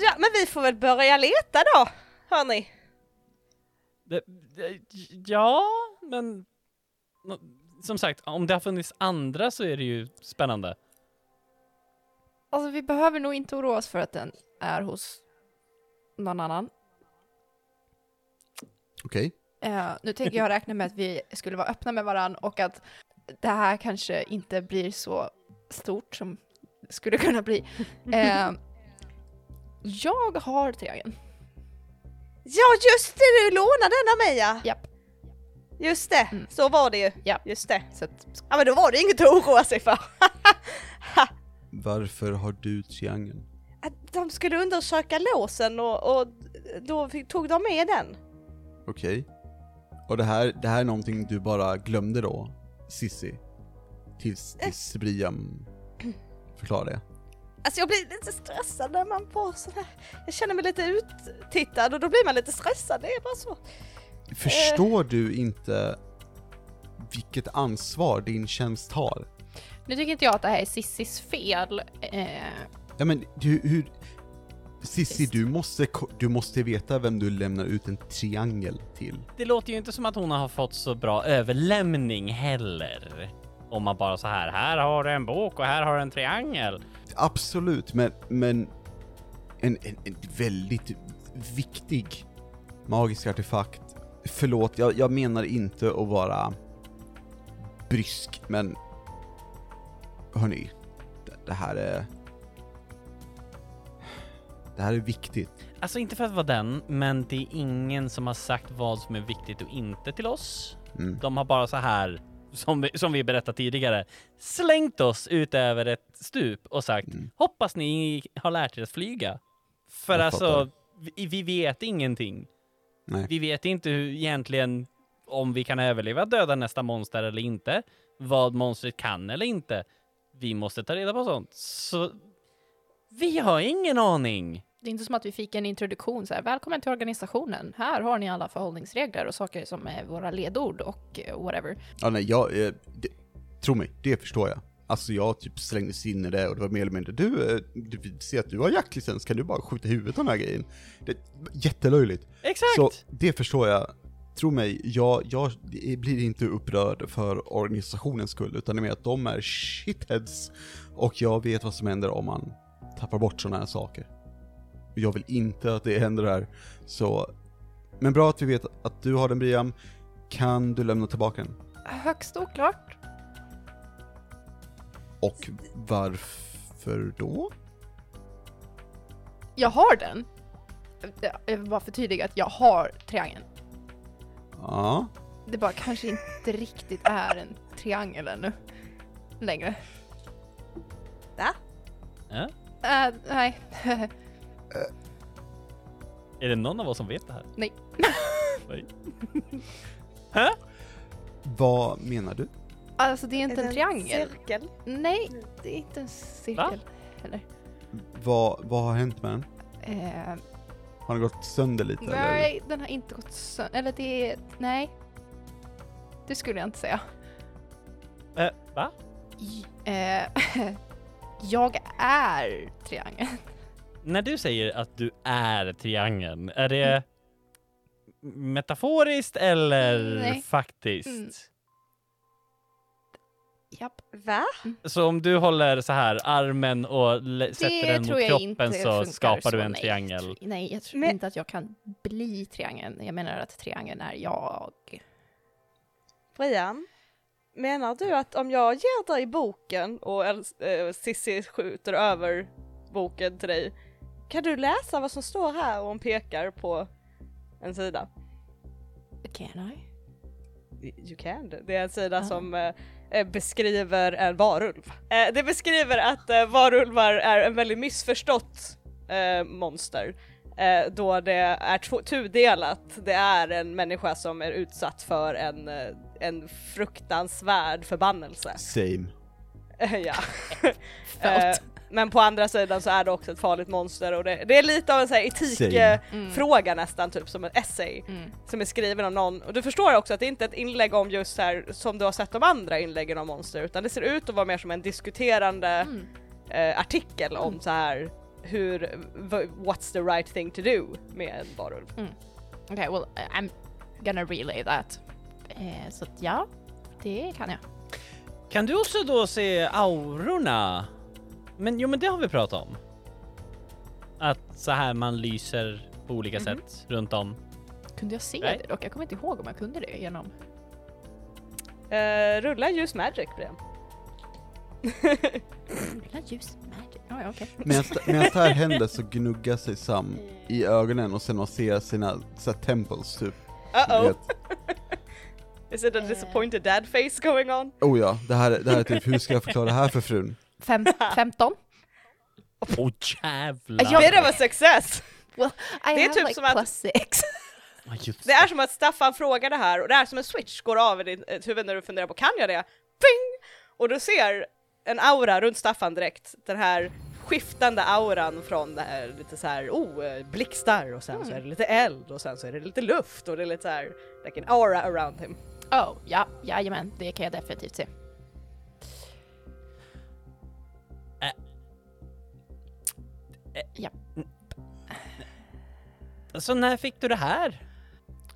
Ja, men vi får väl börja leta då, hörni.
Det, det, ja, men nå- som sagt, om det har funnits andra så är det ju spännande.
Alltså vi behöver nog inte oroa oss för att den är hos någon annan.
Okej.
Eh, nu tänker jag räkna med att vi skulle vara öppna med varandra och att det här kanske inte blir så stort som det skulle kunna bli. Eh, jag har triangeln.
Ja just det, du lånade den av mig ja.
Japp.
Just det,
Mm.
så var det ju.
Ja.
Just det.
Så att,
Ja men då var det inget att oroa sig för.
Varför har du triangeln?
Att de skulle undersöka låsen och, och då fick- tog de med den.
Okej. Och det här, det här är någonting du bara glömde då, Sissi? Tills, tills Briam förklarade det.
Alltså jag blir lite stressad när man får sådär. Jag känner mig lite uttittad och då blir man lite stressad, det är bara så.
Förstår du inte vilket ansvar din tjänst har?
nu tycker inte jag att det här är Sissis fel. Eh,
Ja men du, hur... Sissi, du måste, ko- du måste veta vem du lämnar ut en triangel till.
Det låter ju inte som att hon har fått så bra överlämning heller. Om man bara så här, här har du en bok och här har du en triangel.
Absolut, men, men en, en, en väldigt viktig magisk artefakt. Förlåt, jag, jag menar inte att vara brysk, men hörni, det, det här är... Det här är viktigt.
Alltså inte för att vara den, men det är ingen som har sagt vad som är viktigt och inte till oss.
Mm.
De har bara så här, som vi, som vi berättade tidigare, slängt oss ut över ett stup och sagt
Mm.
hoppas ni har lärt er att flyga. För
Jag
alltså,
fattar.
vi, vi vet ingenting.
Nej.
Vi vet inte hur, egentligen om vi kan överleva att döda nästa monster eller inte. Vad monstret kan eller inte. Vi måste ta reda på sånt. Så vi har ingen aning.
det är inte som att vi fick en introduktion så här, välkommen till organisationen. Här har ni alla förhållningsregler och saker som är våra ledord och eh, whatever.
Ja, nej, jag... Eh, det, tro mig, det förstår jag. Alltså jag typ slängdes in i det och det var mer eller mindre du, eh, du vi ser att du har jaktlicens, kan du bara skjuta i huvudet den här grejen? Det, jättelöjligt.
Exakt!
Så det förstår jag. Tro mig, jag, jag blir inte upprörd för organisationens skull, utan det är mer att de är shitheads och jag vet vad som händer om man tappar bort sådana här saker. Och Jag vill inte att det händer här, så... Men bra att vi vet att du har den Briam. Kan du lämna tillbaka den?
Högst oklart.
Och varför då?
Jag har den. Jag- Jag vill bara förtydliga att jag har triangeln.
Ja,
Det bara kanske inte riktigt är en triangel ännu. Längre.
Va?
Ja.
Äh, nej.
Är det någon av oss som vet det här?
nej.
Nej.
vad menar du?
Alltså det är inte en triangel.
Cirkel.
Nej, det är inte en cirkel. Eller.
Vad, vad har hänt med den?
Eh,
Har den gått sönder lite? Eller?
nej, den har inte gått sönder. Eller det är... Nej. Det skulle jag inte säga.
Eh, va?
Eh, jag är triangeln.
När du säger att du är triangeln, är det Mm. metaforiskt eller
Nej.
faktiskt?
Mm. Japp.
Va?
Så om du håller så här armen och le- sätter den mot kroppen så
funkar
skapar du
så,
en
nej.
triangel?
Nej, jag tror
Men-
inte att jag kan bli triangeln. Jag menar att triangeln är jag.
Brian, menar du att om jag ger dig boken och äh, Sissi skjuter över boken till dig, kan du läsa vad som står här? Och hon pekar på en sida.
Can I?
You can. Det är en sida
Ah.
som eh, eh, beskriver en varulv. Eh, det beskriver att eh, varulvar är en väldigt missförstått eh, monster. Eh, då det är två- tudelat. Det är en människa som är utsatt för en, eh, en fruktansvärd förbannelse.
Same.
Eh, ja. Eh, men på andra sidan så är det också ett farligt monster och det, det är lite av en
Same.
Mm.
etikfråga nästan, typ som en essay
Mm.
som är skriven av någon. Och du förstår också att det är inte är ett inlägg om just så här som du har sett de andra inläggen om monster utan det ser ut att vara mer som en diskuterande
Mm.
eh, artikel om så här hur, v- what's the right thing to do med en varulv.
Okay, well I- I'm gonna relay that. Eh, så att ja, det kan jag.
Kan du också då se aurorna? Men jo, men det har vi pratat om. Att så här man lyser på
Mhm.
olika sätt runt om.
Kunde jag se
Nej.
det dock? Jag kommer inte ihåg om jag kunde det genom...
Eh, rulla ljus magic Brian.
Rulla ljus magic. Ja, ja, okej.
Medan medan det här händer så gnuggar sig Sam i ögonen och sen man ser sina så här, temples typ.
Uh oh!
Vet.
Is it a disappointed dad face going on?
Oh ja, det här, det här är typ, hur ska jag förklara det här för frun?
Fem, 15?
Åh oh, jävlar!
Ja.
Bit of a success!
Well, I
Det är
have
typ
like
som att-
plus six.
Ja, just
Det är som att Staffan frågar det här och det är som en switch går av i ditt huvud när du funderar på kan jag det? Ping! Och du ser en aura runt Staffan direkt. Den här skiftande auran från det här lite så här oh, eh, blixtar och sen så är det lite eld och sen så är det lite luft och det är lite så här like an aura around him.
Oh, ja, jajamän, det kan jag definitivt se.
Ä-
Ja.
Så Alltså, när fick du det här?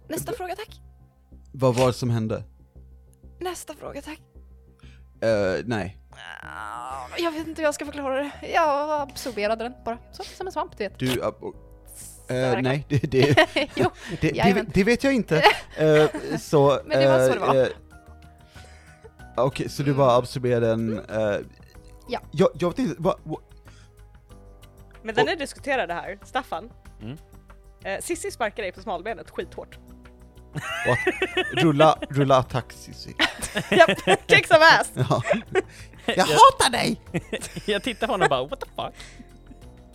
Nästa fråga tack.
Vad var det som hände?
Nästa fråga tack.
Eh, nej.
Ah, Jag vet inte hur jag ska förklara det. Jag absorberade den bara. Så, som en svamp, du vet.
Du, ab- och- eh,
verkar-
nej, det, det,
jo,
det, det,
Jajamän.
det vet jag inte. Eh, så,
Men det var så det var. Mm.
eh, eh, Okej, så du bara absorberade den, eh,
Ja.
jag, jag vet inte, vad, vad-
Men när ni diskuterar det här, Staffan.
Mm.
Eh, Sissi sparkar dig på smalbenet skithårt.
what? Rulla, rulla attack Cissi.
Japp, kick some ass!
Ja. Jag hatar dig!
Jag tittar på honom och bara what the fuck?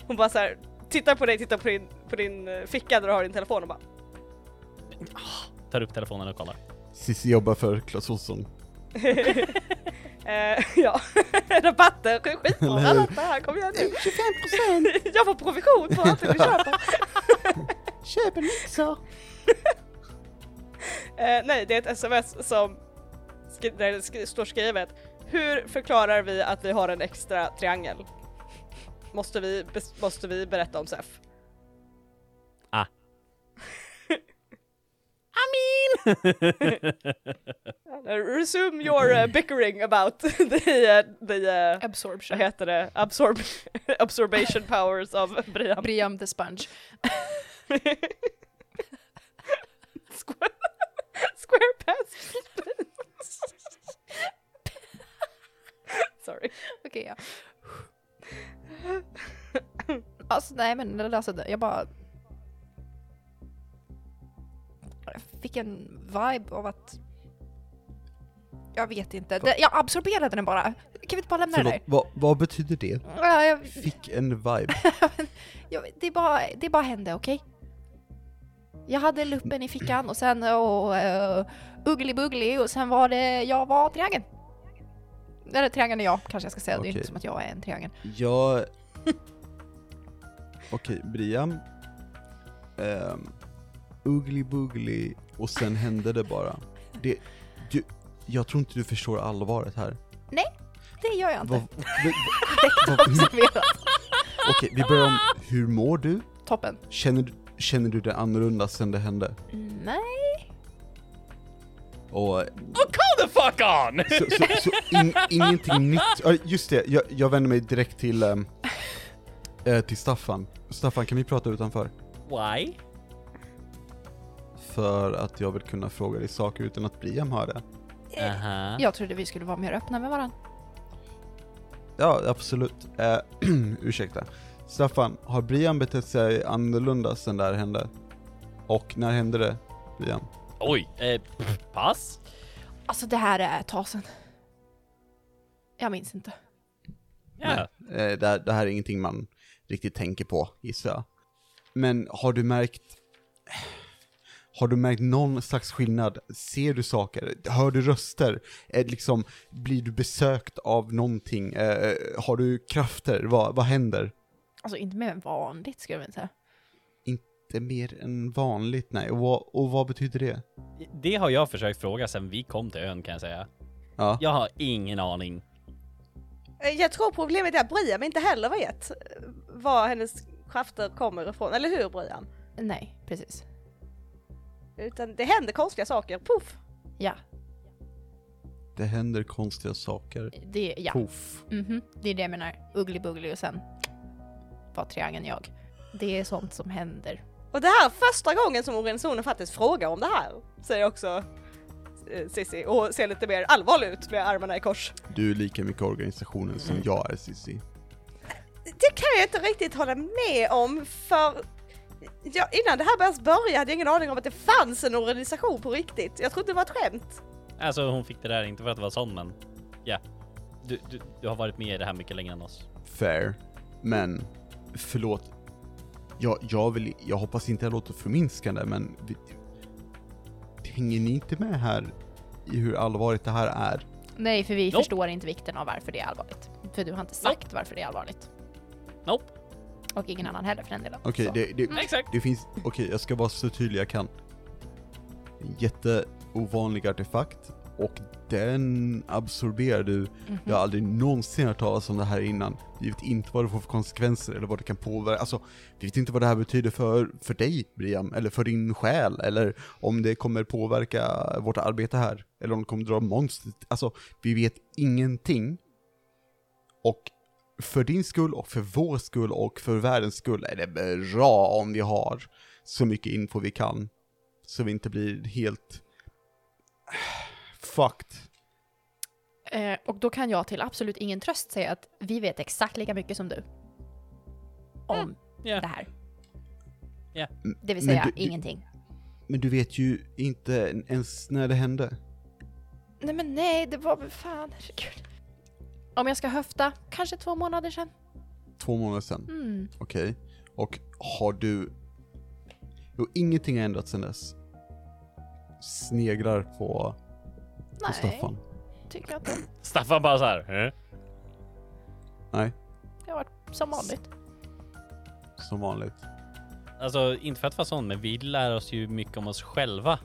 Hon bara så här, tittar på dig, tittar på din, på din eh, ficka där du har din telefon och bara
Tar upp telefonen och kollar.
Cissi jobbar för Clas Ohlson.
Eh, ja, rabatter, skit på
Eller hur?
allt det här, kom igen nu! 25%! Jag får provision på allt vi köper!
Köp en mixer!
Eh, nej, det är ett sms som skri- där det skri- står skrivet Hur förklarar vi att vi har en extra triangel? Måste vi, bes- måste vi berätta om SEF?
Ah. I mean!
Resume your eh, bickering about the, eh, the eh, vad
Absorption.
heter det, Absorb absorbation powers av Brian.
Briam the sponge.
Square, square pass. Sorry.
Okej, ja. Alltså nej men det där så jag bara... Jag fick en vibe av att... Jag vet inte. Det, jag absorberade den bara. Kan vi inte bara lämna
Förlåt,
det
vad, vad betyder det?
där? Ja, jag,
Fick en vibe.
jag, det, bara, det bara hände, okej? Jag hade luppen i fickan och sen och, uh, uggly-buggly och sen var det jag var triangeln. Eller triangeln är jag kanske jag ska säga. Det är
Okej.
inte som att jag är en triangel.
Jag... Okej, Brian. Um, ugly boogly och sen hände det bara. Det, du, jag tror inte du förstår allvaret här.
Det gör jag inte.
Vad- v- v- vad- hur- Okej, vi börjar om. Hur mår du?
Toppen.
Känner, du- känner du dig annorlunda sen det hände?
Nej.
Och
Oh, Come the fuck on!
så, så, så in, ingenting nytt. Ja, Just det, jag, jag vänder mig direkt till, ehm, eh, till Staffan. Staffan, kan vi prata utanför?
Why?
För att jag vill kunna fråga dig saker utan att Brian hör det.
Aha.
Jag trodde vi skulle vara mer öppna med varandra.
Ja, absolut. Eh, ursäkta. Staffan, har Brian betett sig annorlunda sen det här hände? Och när hände det, Brian?
Oj, eh, pff, pass?
Alltså det här är ett tag sedan. Jag minns inte.
Ja.
Nej, eh, det, här- det här är ingenting man riktigt tänker på, gissar jag. Men har du märkt... Har du märkt någon slags skillnad? Ser du saker? Hör du röster? Eh, liksom, blir du besökt av någonting? Eh, har du krafter? Vad, vad händer?
Alltså inte mer än vanligt skulle jag vilja säga.
Det är mer än vanligt, nej. Och vad, och vad betyder det?
Det har jag försökt fråga sedan vi kom till ön kan jag säga.
Ja.
Jag har ingen aning.
Eh, Jag tror problemet är att Brian inte heller vet eh, var hennes krafter kommer ifrån, eller hur Brian?
Nej, precis.
Utan det händer konstiga saker, poff!
Ja,
Det händer konstiga saker.
det, ja.
Poff.
Mhm, det är det jag menar. Ugly Bugly och sen var triangeln jag. Det är sånt som händer.
Och det här är första gången som organisationen faktiskt frågar om det här, säger också eh, Sissi och ser lite mer allvarlig ut med armarna i kors.
Du är lika mycket organisationen som jag är, Cissi.
Det kan jag inte riktigt hålla med om för ja, innan det här ens började hade jag ingen aning om att det fanns en organisation på riktigt. Jag trodde det var ett skämt.
Mm.
Alltså hon fick det där inte för att det var sån men ja. Du, du, du har varit med i det här mycket längre än oss.
Fair. Men, förlåt. Jag, jag, vill, jag hoppas inte jag låter förminskande, men vi, hänger ni inte med här i hur allvarligt det här är?
Nej, för vi
Nope.
förstår inte vikten av varför det är allvarligt. För du har inte sagt varför det är allvarligt.
Nope.
Och ingen annan heller för den delen.
Okej,
Så.
det, det,
Exakt.
det finns... Okej, jag ska vara så tydlig jag kan. En Jätteovanlig artefakt och den absorberar du. Jag har aldrig någonsin hört talas om det här innan. Vi vet inte vad det får för konsekvenser eller vad det kan påverka. Alltså, vi vet inte vad det här betyder för, för dig, Briam, eller för din själ, eller om det kommer påverka vårt arbete här, eller om det kommer dra monster. Alltså, vi vet ingenting. Och för din skull och för vår skull och för världens skull är det bra om vi har så mycket info vi kan. Så vi inte blir helt fucked.
Eh, och då kan jag till absolut ingen tröst säga att vi vet exakt lika mycket som du. Om
ja.
det här. Mm,
Ja.
Det vill
Men
säga
du- du-
ingenting.
Men du vet ju inte ens när det hände.
Nej men nej, det var väl fan, herregud. Om jag ska höfta, kanske två månader sedan.
Två månader sedan,
Mm.
okej. Och har du... Jo, ingenting har ändrats sedan dess. Sneglar på, på
Nej,
Staffan.
tycker jag inte.
Staffan bara såhär. Eh?
Nej,
Det har varit som vanligt.
som vanligt.
Alltså inte för att vara sån men vi lär oss ju mycket om oss själva.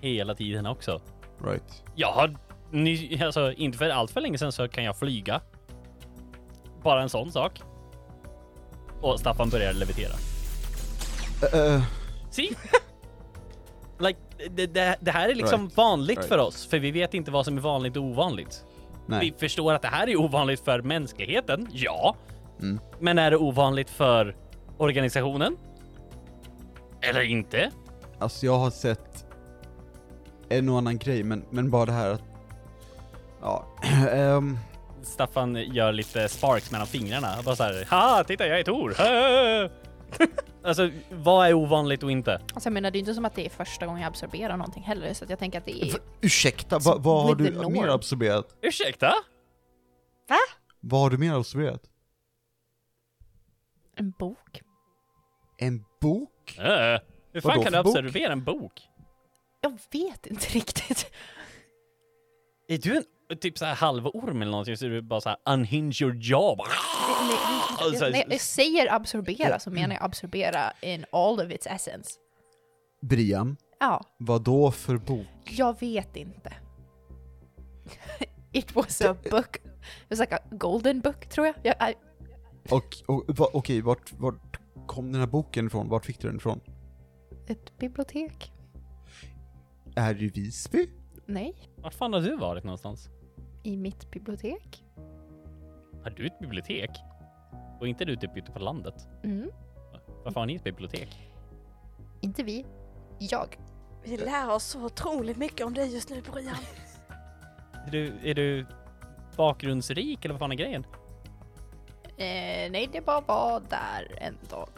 Hela tiden också.
Right.
Jag har ny, alltså inte för allt för länge sedan så kan jag flyga. Bara en sån sak. Och Staffan börjar levitera.
Ä- äh,
See? like, det, det, det här är liksom
Right.
vanligt
Right.
för oss, för vi vet inte vad som är vanligt och ovanligt. Vi
nej.
förstår att det här är ovanligt för mänskligheten, ja.
Mm.
Men är det ovanligt för organisationen? Eller inte?
Alltså jag har sett en och annan grej, men, men bara det här att... Ja. ehm,
Staffan gör lite sparks mellan fingrarna. Bara så här, ha, titta jag är Tor! Hä?" alltså, vad är ovanligt och inte?
Alltså jag menar, det är ju inte som att det är första gången jag absorberar någonting heller, så att jag tänker att det är...
v- ursäkta, va, vad har
with the
du
norm.
mer absorberat?
Ursäkta?
Va?
Vad har du mer absorberat?
En bok?
En bok?
Äh, hur fan
Vadå
kan du
för bok?
observera en bok?
Jag vet inte riktigt.
Är du en typ så här halvorm eller någonting så är du bara så här unhinge your jaw. Bara,
Nej, det-
Alltså,
när jag säger absorbera så menar jag absorbera in all of its essence.
Briam,
Ja,
vad då för bok?
jag vet inte. It was a book. It was like a golden book, tror jag. jag I,
Och, och va, okej, vart, vart kom den här boken ifrån? Vart fick du den ifrån?
ett bibliotek?
Är det i Visby?
Nej,
Vart fan har du varit någonstans?
i mitt bibliotek.
Har du ett bibliotek? Och inte du typ ute på landet?
Mm.
Varför har ni ett bibliotek?
Inte vi, jag.
Vi lär oss så otroligt mycket om dig just nu Brian.
Är du, är du bakgrundsrik eller vad fan är grejen?
Eh, nej, det bara var där en dag.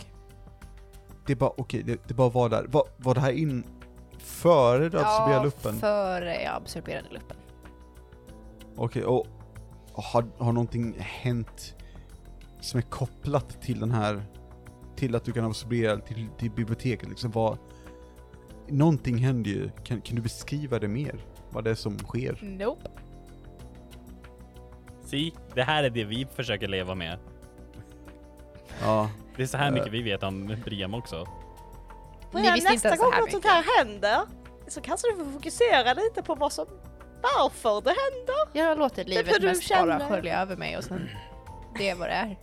Det bara, okej, det, det bara var där. Var, var det här in före du absorberade luppen?
före jag absorberade luppen.
Okej, och har, har någonting hänt som är kopplat till den här, till att du kan absorbera till, till biblioteket liksom? Vad, någonting händer ju. Kan, kan du beskriva det mer? Vad det är som sker?
Nope.
Si, det här är det vi försöker leva med.
Ja,
Det är så här mycket vi vet om Briam också.
Ni
Ja,
visste inte
nästa
ens
gång
så här
något sånt här händer så kanske du får fokusera lite på vad som, varför det händer.
Jag låter
får
livet
du
mest
känna.
bara skölja över mig och sen det är vad det är.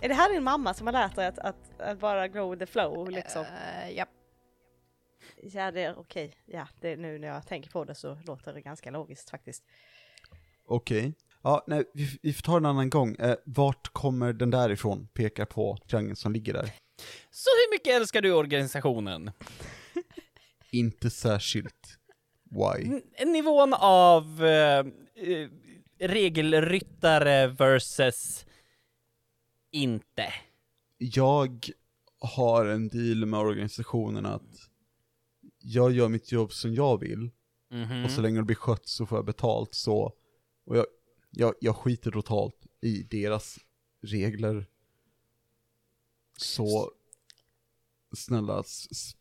Är det här din mamma som har lärt dig att, att, att bara go with the flow liksom?
Eh, ja.
Ja det är okej, ja det är nu när jag tänker på det så låter det ganska logiskt faktiskt.
okej. Ja, nej, vi, f- vi får ta en annan gång. Eh, vart kommer den där ifrån? Pekar på triangeln som ligger där.
Så hur mycket älskar du organisationen?
Inte särskilt. Why?
N- Nivån av eh, eh, regelryttare versus inte.
Jag har en deal med organisationen att jag gör mitt jobb som jag vill och så länge det blir skött så får jag betalt så. Och jag, jag, jag skiter totalt i deras regler. Så snälla, s- s-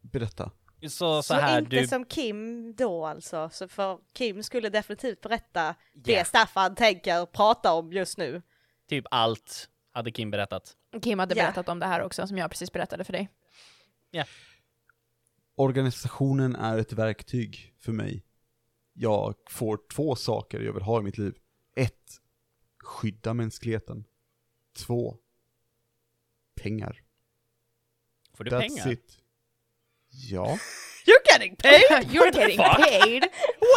berätta.
Så, så
Så,
här,
inte
du...
som Kim då alltså, så för Kim skulle definitivt berätta
Ja.
det Staffan tänker prata om just nu.
Typ allt hade Kim berättat.
Kim hade
Ja.
berättat om det här också som jag precis berättade för dig.
Organisationen är ett verktyg för mig. Jag får två saker jag vill ha i mitt liv. Ett, skydda mänskligheten. Två, pengar.
Får du
That's
pengar?
it. Ja.
You're getting paid!
You're getting paid!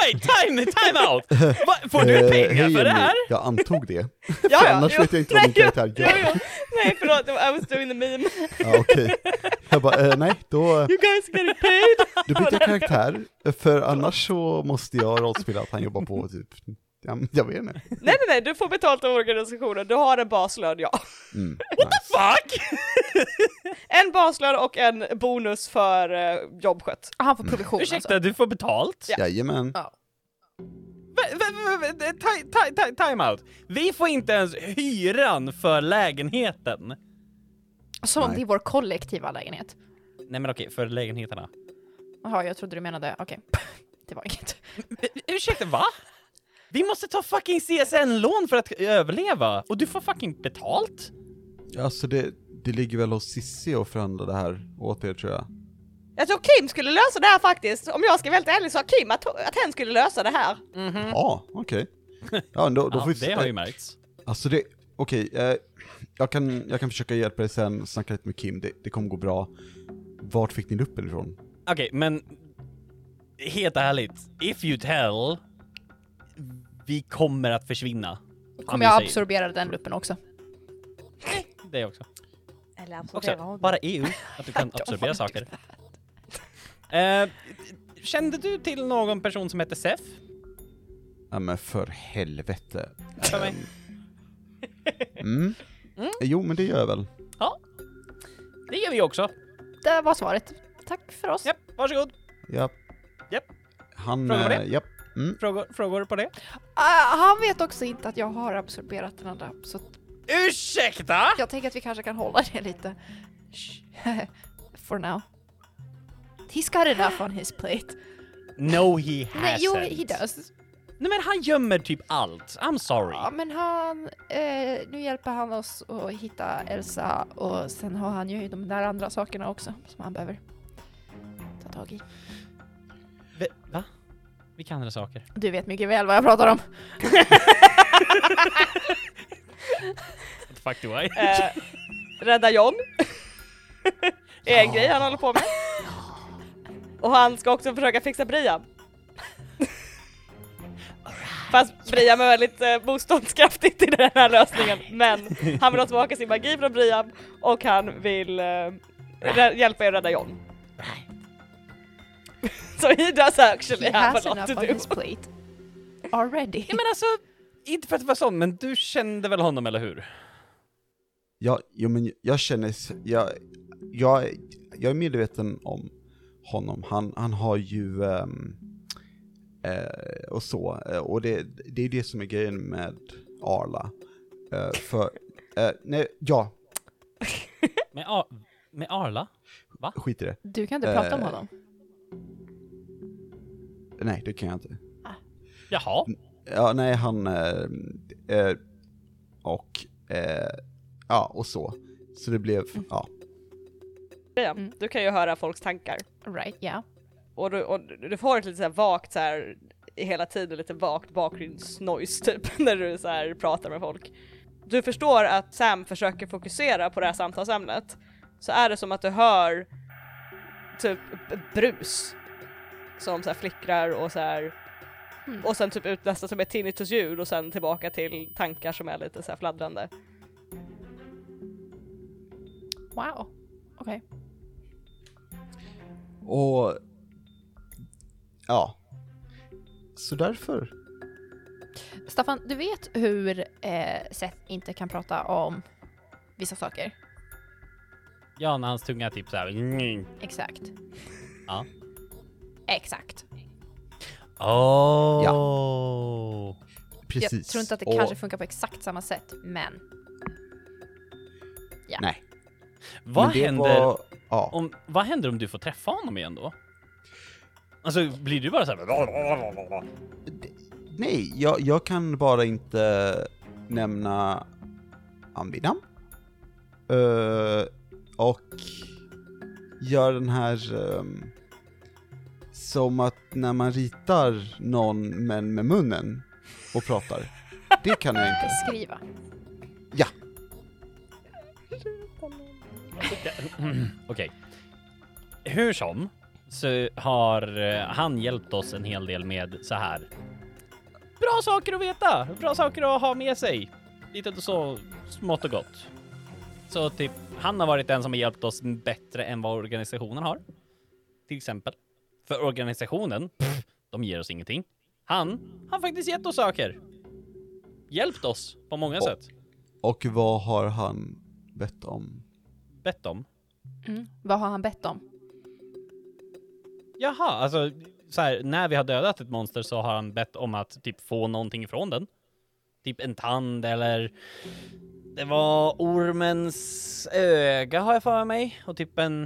Wait, time, time out! Va, får du
Eh,
pengar
hej,
för
Emily.
det här?
Jag antog det.
ja, ja,
Annars
jo,
vet jag inte vad
nej,
min karaktär
jo,
gör.
jo, jo. Nej förlåt, I was doing the meme.
Ja, okej. Jag bara, eh, nej, då,
You guys getting paid!
då byter jag karaktär, för annars så måste jag rollspela att han jobbar på typ, ja, men jag vet inte.
nej nej nej, du får betalt av organisationen, du har en baslön ja.
Mm, nice.
Fuck!
En baslön och en bonus för uh, jobbskött.
Ah, Han får provision alltså.
Ursäkta, du får betalt?
Jajamän.
Ja.
Va- va- va- va- det- ti- ti- ti- Time out! Vi får inte ens hyran för lägenheten.
Som om
Nej.
det är vår kollektiva lägenhet.
Nej men okej, för lägenheterna.
Jaha, jag trodde du menade, okej. Det var inget.
Ursäkta, va? Vi måste ta fucking CSN-lån för att överleva! Och du får fucking betalt?
Alltså det, det ligger väl hos Cissi att förhandla det här åt er tror
Mm.
jag.
Jag tror Kim skulle lösa det här faktiskt, om jag ska vara helt ärlig så sa Kim att, att hen skulle lösa det här.
Ja, okej. Ja, då, då
Ja,
får vi,
det har ju märkts.
Alltså det, okej, eh, jag, kan, jag kan försöka hjälpa dig sen, snacka lite med Kim, det, det kommer gå bra. Vart fick ni luppen ifrån?
Okej, men... Helt ärligt, if you tell... Vi kommer att försvinna.
Kommer jag
Anders säger
absorbera den luppen också?
Det också.
Eller absorbera
Också,
honom.
bara EU, att du kan absorbera saker. Eh, kände du till någon person som hette Sef?
Ja men för helvete.
För mig?
Mm. Jo men det gör jag väl.
Ja. Det gör vi också.
Det var svaret. Tack för oss.
Japp, varsågod.
Ja.
Japp.
Han,
Fråga vad det är.
eh, japp. Mm.
Frågor, frågor på det?
Ah, han vet också inte att jag har absorberat den andra, så att
Ursäkta?
jag tänker att vi kanske kan hålla det lite. Shh. For now. He's got enough on his plate.
No he hasn't.
Nej, jo, he does.
Nej men han gömmer typ allt. I'm sorry.
Ja, men han... Eh, nu hjälper han oss att hitta Elsa och sen har han ju de där andra sakerna också som han behöver ta tag i.
V- va? Vilka andra saker?
Du vet mycket väl vad jag pratar om.
What the fuck do I?
Eh, rädda John. är en grej han håller på med. Och han ska också försöka fixa Brian. Fast Brian är väldigt eh, motståndskraftig till den här lösningen. Men han vill ha tillbaka sin magi från Brian och han vill eh, rä- hjälpa er att rädda John. Så he does actually
He
have
has
a lot
enough
to
on
do.
his plate. Already.
Nej men alltså, inte för att vara sån, men du kände väl honom eller hur?
Ja, jo men jag känner, s- jag, jag, jag är medveten om honom. Han, han har ju, ehm, eh, och så, eh, och det, det är det som är grejen med Arla. Eh, för, eh, nej, ja,
Med, Ar- med Arla?
skit i det.
Du kan inte prata om
Eh,
honom.
Nej, det kan jag inte.
Jaha.
Mm.
Ja, nej, han... eh, eh, och... Eh, ja, och så. Så det blev, ja.
Ja,
Mm.
Du kan ju höra folks tankar.
Right, yeah.
Och du, och du du får ett lite så här vagt så här hela tiden lite vagt bakgrundsnoise typ när du så här pratar med folk. Du förstår att Sam försöker fokusera på det här samtalsämnet. Så är det som att du hör typ b- brus som så här flickrar och så här
Hmm.
och sen typ ut nästan som ett tinnitusljud och sen tillbaka till tankar som är lite så här fladdrande.
Wow. Okej.
Och... Ja. Så därför.
Staffan, du vet hur eh, Seth inte kan prata om vissa saker?
Jan, hans tunga typ så här.
Exakt.
Ja.
Exakt.
Oh.
Precis.
Jag tror inte att det
och,
kanske funkar på exakt samma sätt, men
Nej.
Vad
men det
händer?
Var, ja.
Om, vad händer om du får träffa honom igen då? Alltså blir du bara så här...
Nej, jag, jag kan bara inte nämna Ambinam. Eh, och gör den här ehm, som att när man ritar någon men med munnen och pratar. Det kan jag inte.
beskriva.
Ja,
Okej. Hur som så har eh, han hjälpt oss en hel del med så här. Bra saker att veta, bra saker att ha med sig. Lite så smått och gott. Så typ, han har varit den som har hjälpt oss bättre än vad organisationen har. Till exempel. För organisationen, pff, de ger oss ingenting. Han har faktiskt gett oss saker. Hjälpt oss på många sätt.
och vad har han bett om?
Bett om.
Mm. Vad har han bett om?
Jaha, alltså så här, när vi har dödat ett monster så har han bett om att typ få någonting ifrån den. Typ en tand eller det var ormens öga har jag för mig och typ en,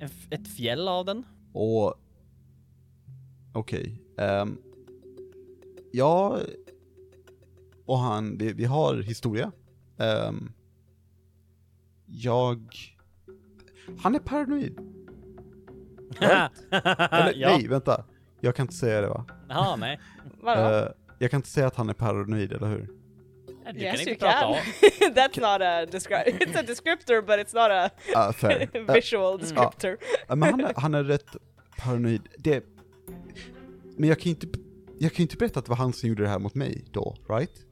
en f- ett fjäll av den.
Och... Okej. ehm, ja... Och han, vi, vi har historia. Ehm, jag... Han är paranoid. Eller
ja.
nej, vänta. Jag kan inte säga det va?
Ja, nej.
Vadå?
Eh, jag kan inte säga att han är paranoid, eller hur?
Du
Yes,
kan
you
inte prata
can.
om.
That's not a descriptor, it's a descriptor but it's not a
Ah, fair. Eh,
visual descriptor.
Ja, men han är, han är rätt paranoid. Det... Men jag kan ju inte... Jag kan ju inte berätta att det var han som gjorde det här mot mig då, right?
I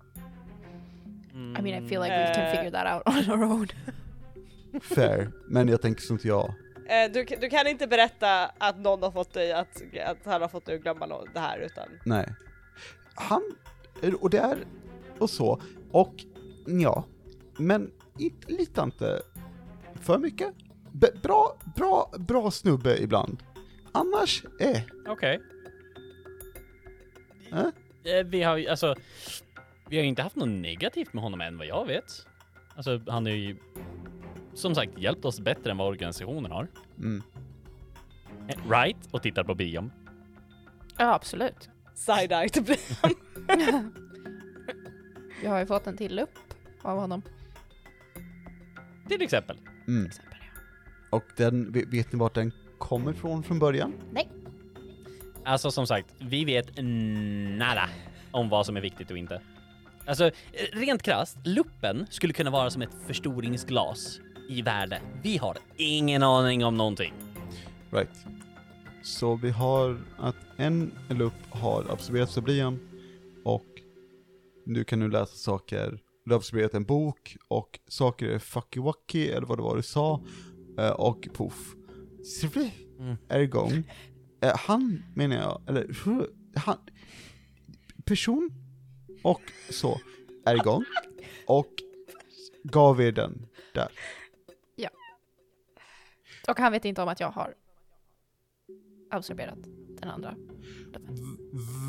Mm.
mean, I feel like we can
Eh.
figure that out on our own.
Fair. Men jag tänker som inte jag.
Eh, du, du kan inte berätta att någon har fått dig att, att han har fått dig att glömma nå- det här utan
Nej. Han, och det är, och så, och ja, men inte, lita inte för mycket. B- bra, bra, bra snubbe ibland. Annars, eh,
Okej.
Eh?
Eh, Vi har ju, alltså, vi har ju inte haft något negativt med honom än vad jag vet. Alltså, han har ju som sagt hjälpt oss bättre än vad organisationen har.
mm.
Eh, Right? Och tittar på Biom.
Ja, absolut.
side-eye till bli.
Jag har ju fått en till upp av honom.
Till exempel.
Mm.
exempel, ja.
Och den, ve- vet ni vart den kommer ifrån från början?
Nej.
Alltså som sagt, vi vet nada om vad som är viktigt och inte. Alltså, eh, rent krasst, luppen skulle kunna vara som ett förstoringsglas i världen. Vi har ingen aning om någonting.
Right. Så vi har att en lupp har absorberats av Brian och nu kan du läsa saker. Du har absorberat en bok och saker är fucky wacky eller vad det var du sa eh, och poff. Svri är igång. Eh, Han menar jag, eller han, person och så är igång och gav er den där.
Och han vet inte om att jag har absorberat den andra.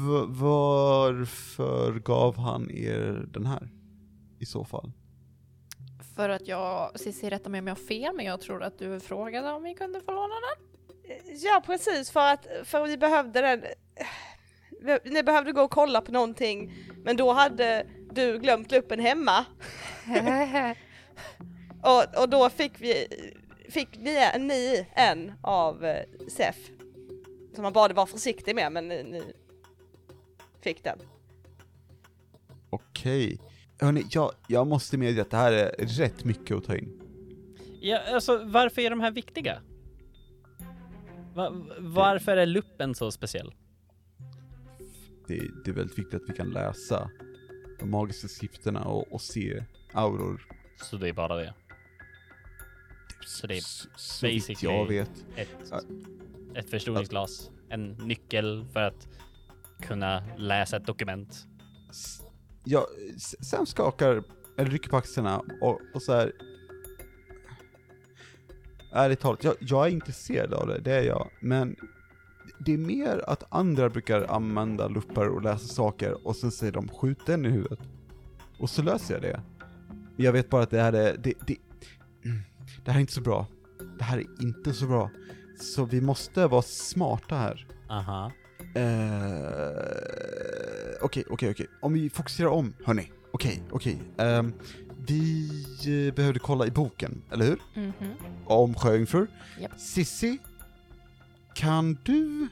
V- varför gav han er den här? I så fall.
För att jag, Cissi rätta mig om jag har fel, men jag tror att du frågade om vi kunde få låna den.
Ja precis, för att för vi behövde den. ni behövde gå och kolla på någonting men då hade du glömt luppen hemma och, och då fick vi fick ni, ni en av eh, Sef som man bad vara försiktig med men ni, ni fick den.
Okej. Hörni, jag, jag måste medge att det här är rätt mycket att ta in.
Ja, alltså varför är de här viktiga? Va- varför är luppen så speciell?
Det, det är väldigt viktigt att vi kan läsa de magiska skrifterna och, och se auror.
Så det är bara det. Så det är
s- så vitt
basically-
jag vet.
ett,
Ja.
ett förstoringsglas, en nyckel för att kunna läsa ett dokument.
S- Ja, s- Sam skakar, eller rycker på axlarna och, och så här. Ärligt talat, jag, jag är intresserad av det, det är jag, men det är mer att andra brukar använda luppar och läsa saker och sen säger de skjut den i huvudet. Och så löser jag det. Jag vet bara att det här är, det, det, mm, det här är inte så bra. Det här är inte så bra. Så vi måste vara smarta här.
Aha.
Eh, Okej, okej, okej. Om vi fokuserar om, hörni. Okej, okej. Ehm, vi eh, behövde kolla i boken, eller hur?
Mhm.
Om sjöjungfrur.
Japp.
Sissi, kan du...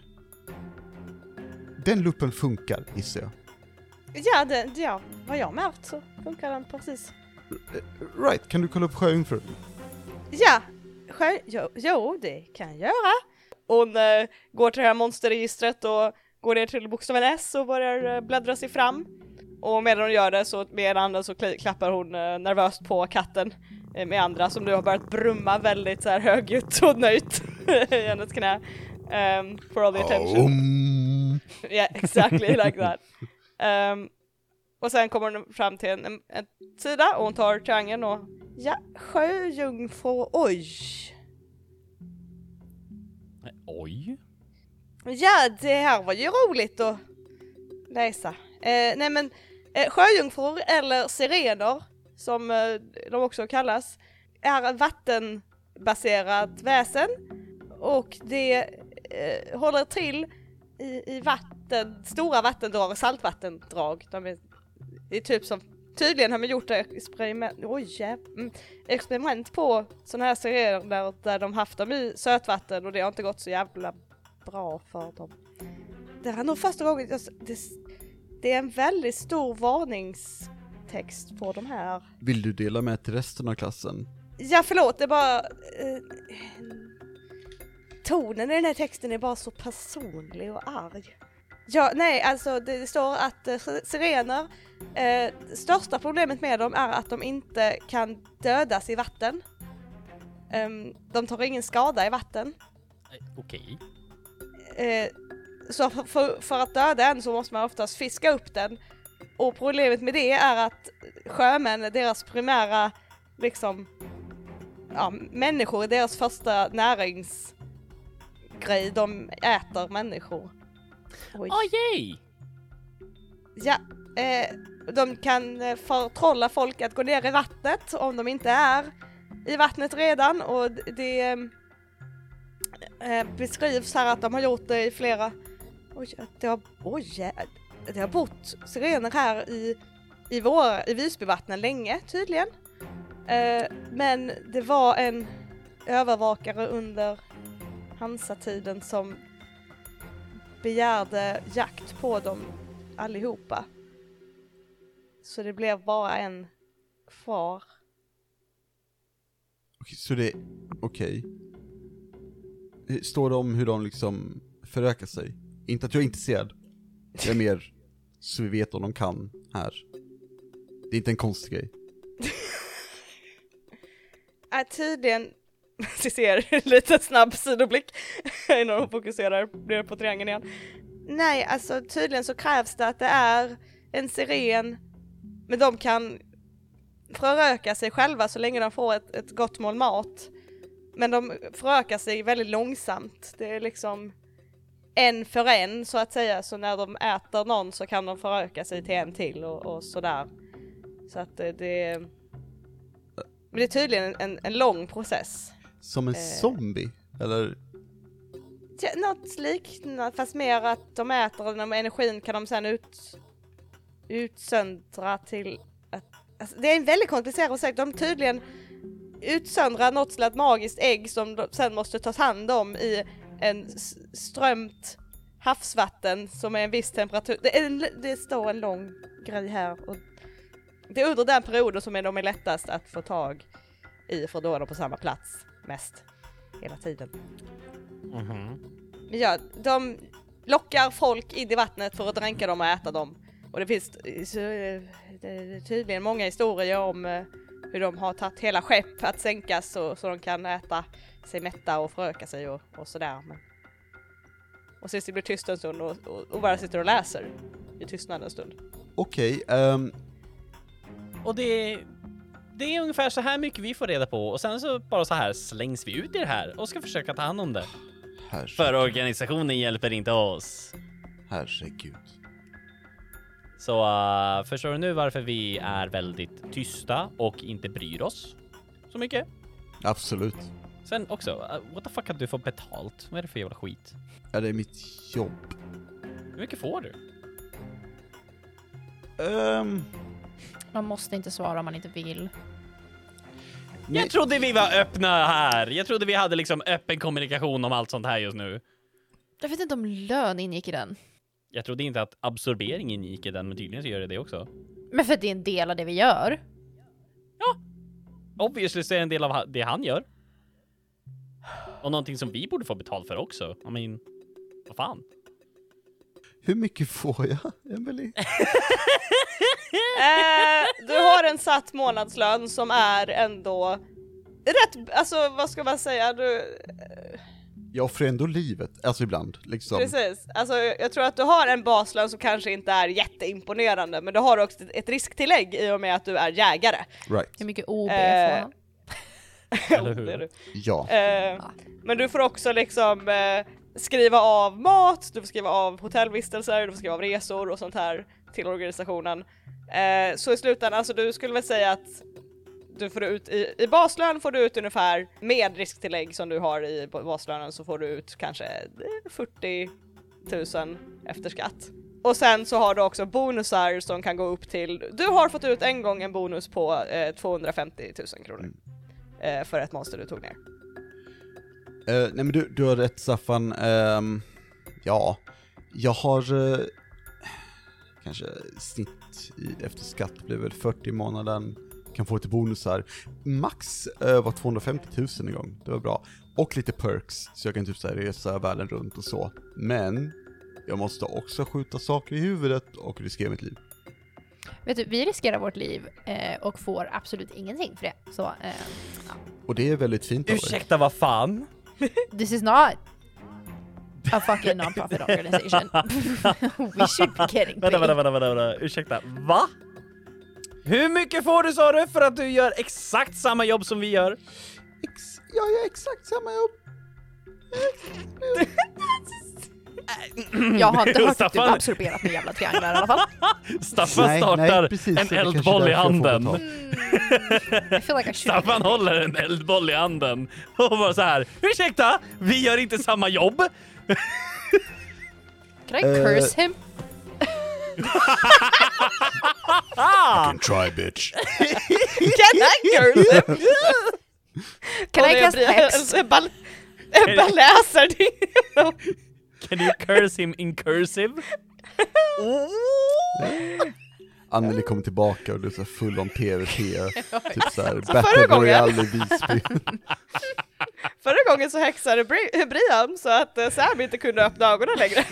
Den luppen funkar, gissar jag.
Ja, det, ja, vad jag märkt så funkar den precis.
Right, kan du kolla upp sjöjungfrur?
Ja, själv, jo, jo, det kan jag göra. Hon eh, går till det här monsterregistret och går ner till bokstaven S och börjar eh, bläddra sig fram. Och medan hon gör det så med ena handen så kli- klappar hon eh, nervöst på katten eh, med andra som nu har börjat brumma väldigt så här högljutt och nöjt i hennes knä. Ehm, for all the attention.
Om.
Yeah, exactly like that. Ehm, och sen kommer hon fram till en, en, en sida och hon tar triangeln och ja, sjöjungfru, oj.
Oj.
Ja, det här var ju roligt att läsa. Eh, nej men, eh, sjöjungfrur eller sirener, som eh, de också kallas, är vattenbaserat väsen och det eh, håller till i, i vatten, stora vattendrag och saltvattendrag. De är, det är typ som, tydligen har man gjort experiment, oj, ja, mm, experiment på sådana här sirener där de haft dem i sötvatten och det har inte gått så jävla bra för dem. Det här är nog första gången, jag s- det, s- det är en väldigt stor varningstext på de här.
Vill du dela med till resten av klassen?
Ja förlåt, det är bara... Eh, tonen i den här texten är bara så personlig och arg. Ja, nej alltså det, det står att eh, sirener, eh, största problemet med dem är att de inte kan dödas i vatten. Ehm, de tar ingen skada i vatten.
Eh, Okej.
Eh, så för- för, för att döda en så måste man oftast fiska upp den. Och problemet med det är att sjömän är deras primära, liksom, ja, människor är deras första näringsgrej. De äter människor. Oj.
Åh yay!
Ja, eh, de kan eh, förtrolla folk att gå ner i vattnet om de inte är i vattnet redan och d- det eh, beskrivs här att de har gjort det i flera... Oj, att det har, oj, eh, det har bott sirener här i, i, vår, i Visbyvattnen länge tydligen. Eh, men det var en övervakare under Hansatiden som begärde jakt på dem allihopa. Så det blev bara en kvar.
Okej, så det... Okej. Eh, Står det om hur de liksom förökar sig? Inte att jag är intresserad. Det är mer så vi vet om de kan här. Det är inte en konstig grej.
Äh, tydligen, vi ser lite snabb sidoblick innan hon fokuserar ner på triangeln igen. Nej, alltså tydligen så krävs det att det är en siren, men de kan föröka sig själva så länge de får ett, ett gott mål mat. Men de förökar sig väldigt långsamt. Det är liksom en för en så att säga, så när de äter någon så kan de föröka sig till en till och, och sådär. Så att det, det men det är tydligen en, en, en lång process.
Som en
Eh.
zombie? Eller?
kä- något liknande fast mer att de äter den och energin kan de sen ut, utsöndra till att, alltså, det är en väldigt komplicerad sak. De tydligen utsöndrar något till ett magiskt ägg som de sen måste tas hand om i en s- strömt havsvatten som är en viss temperatur. Det, är en, det står en lång grej här och det är under den perioden som är de är lättast att få tag i för då är de på samma plats mest hela tiden. Men ja, de lockar folk in i vattnet för att dränka dem och äta dem. Och det finns eh, så, eh, det är tydligen många historier om eh, hur de har tagit hela skepp att sänkas så, så de kan äta sig mätta och föröka sig och, och sådär. Men... Och sist det blir tyst en stund och, och, och bara sitter och läser i tystnad en stund.
Okej, ehm,
Och det, det är ungefär så här mycket vi får reda på och sen så bara så här slängs vi ut i det här och ska försöka ta hand om det. För
herregud.
organisationen hjälper inte oss.
herregud.
Så eh, förstår du nu varför vi är väldigt tysta och inte bryr oss så mycket?
Absolut.
Sen också, eh, what the fuck att du får betalt? Vad är det för jävla skit?
Ja, det är mitt jobb.
Hur mycket får du?
Ehm,
Man måste inte svara om man inte vill.
Jag trodde vi var öppna här! Jag trodde vi hade liksom öppen kommunikation om allt sånt här just nu.
Jag vet inte om lön ingick i den.
Jag trodde inte att absorbering ingick i den, men tydligen så gör det det också.
Men för att det är en del av det vi gör.
Obviously så är det en del av ha- det han gör. Och någonting som vi borde få betalt för också. I mean, vad fan?
hur mycket får jag, Emily?
Eh, du har en satt månadslön som är ändå rätt, alltså vad ska man säga, du,
Jag offrar ändå livet, alltså ibland, liksom.
Precis, alltså jag tror att du har en baslön som kanske inte är jätteimponerande men du har också ett risktillägg i och med att du är jägare.
Right.
Hur mycket OB
Eh,
får man?
Eller hur?
Det är du.
Ja.
Eh, men du får också liksom eh, skriva av mat, du får skriva av hotellvistelser, du får skriva av resor och sånt här till organisationen. Eh, så i slutändan, alltså du skulle väl säga att du får ut i, i baslön får du ut ungefär med risktillägg som du har i ba- baslönen så får du ut kanske eh, 40 000 efter skatt. Och sen så har du också bonusar som kan gå upp till, du har fått ut en gång en bonus på eh, 250 000 kronor eh, för ett monster du tog ner.
Eh, nej men du, du har rätt Staffan. Ehm, ja, jag har eh, kanske snitt i, efter skatt blir väl 40 i månaden. Kan få lite bonusar. Max eh, var 250 000 en gång, det var bra. Och lite perks, så jag kan typ så här resa världen runt och så. Men jag måste också skjuta saker i huvudet och riskera mitt liv.
Vet du, vi riskerar vårt liv eh, och får absolut ingenting för det. Så eh,
Och det är väldigt fint av er.
Ursäkta, vad fan?
this is not a fucking non-profit organization. We should be getting
Vänta, vänta,
paid.
vänta, vänta, vänta. ursäkta, va? Hur mycket får du sa du för att du gör exakt samma jobb som vi gör?
Ex- jag gör exakt samma jobb.
Jag har inte
Jo,
hört att du
Staffan.
absorberat min jävla trianglar i alla fall.
Staffan
Nej, nej,
startar
precis, det är
en
kanske
eldboll i
därför jag får
handen.
betalt.
I feel like I should.
Staffan håller en eldboll i handen och bara så här. Ursäkta, vi gör inte samma jobb.
Can I curse him?
Fucking try bitch.
Get angry!
Can I cast hex?
Ebba, Ebba läser din...
Can you curse him in cursive?
Anneli kom tillbaka och du är så här full om PVP, typ såhär
Så
Battle
förra gången-
Royale i Visby.
Förra gången så häxade Bri- Brian så att eh, Sam inte kunde öppna ögonen längre.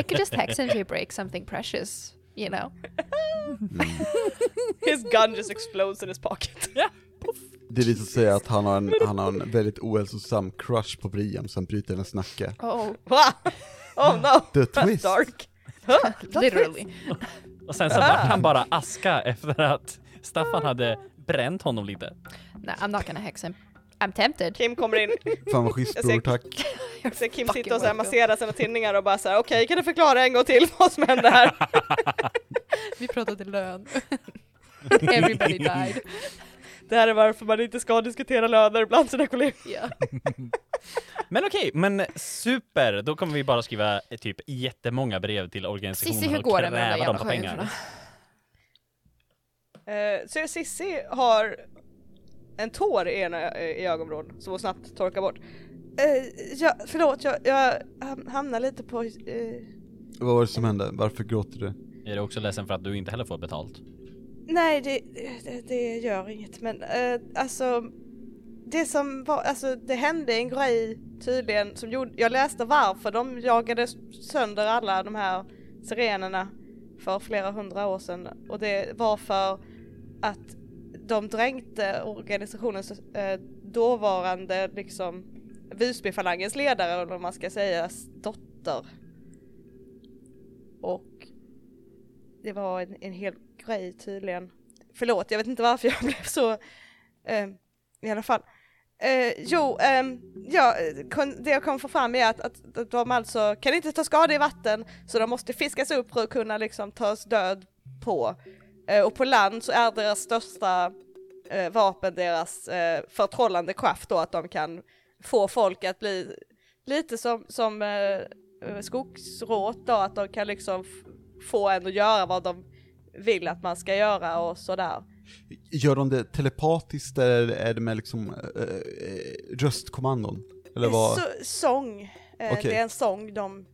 I could just hex and break something precious. You know?
His gun just explodes in his pocket.
Det visar sig att han har en, han har en väldigt ohälsosam crush på Brian så han bryter hennes nacke.
Oh,
Wow. Oh no,
The
that's
twist.
dark.
literally.
Och sen så vart han bara aska efter att Staffan hade bränt honom lite.
No, I'm not gonna hex him. I'm tempted.
Kim kommer in,
Fan vad schysst
Jag ser-
bror tack.
ser Kim
Fucking
sitta och så
welcome.
här massera sina tinningar och bara så här: okej kan du förklara en gång till vad som hände här?
Vi pratade lön. Everybody died.
Det här är varför man inte ska diskutera löner bland sina kollegor.
Yeah.
Men okej, men super. Då kommer vi bara skriva eh, typ jättemånga brev till
Cissi,
organisationen
hur
och
går det med de där
kräva dem
jävla
på pengar.
sjöjungfrurna?
Eh, så Cissi har en tår i ena eh, i ögonvrån som hon snabbt torkar bort. Eh, ja, förlåt, jag, jag ham- hamnar lite på... Eh,
Vad var det som hände? Varför gråter du?
Är du också ledsen för att du inte heller får betalt?
nej, det, det, det gör inget men eh, alltså det som var, alltså det hände en grej tydligen som gjorde, jag läste varför de jagade sönder alla de här sirenerna för flera hundra år sedan och det var för att de dränkte organisationens eh, dåvarande liksom Visbyfalangens ledare eller vad man ska säga, dotter. Och det var en, en hel grej tydligen. Förlåt, jag vet inte varför jag blev så eh, i alla fall. Eh, jo, ehm, ja, eh, kon- det jag kom få fram är att, att, att de alltså kan inte ta skada i vatten så de måste fiskas upp för att kunna liksom tas död på. Eh, och på land så är deras största eh, vapen deras eh, förtrollande kraft då att de kan få folk att bli lite som, som eh, skogsråt då att de kan liksom f- få en att göra vad de vill att man ska göra och sådär.
Gör de det telepatiskt eller är det med liksom eh, eh, röstkommandon? Eller vad?
Så, sång. Eh,
Okej.
Det är en sång de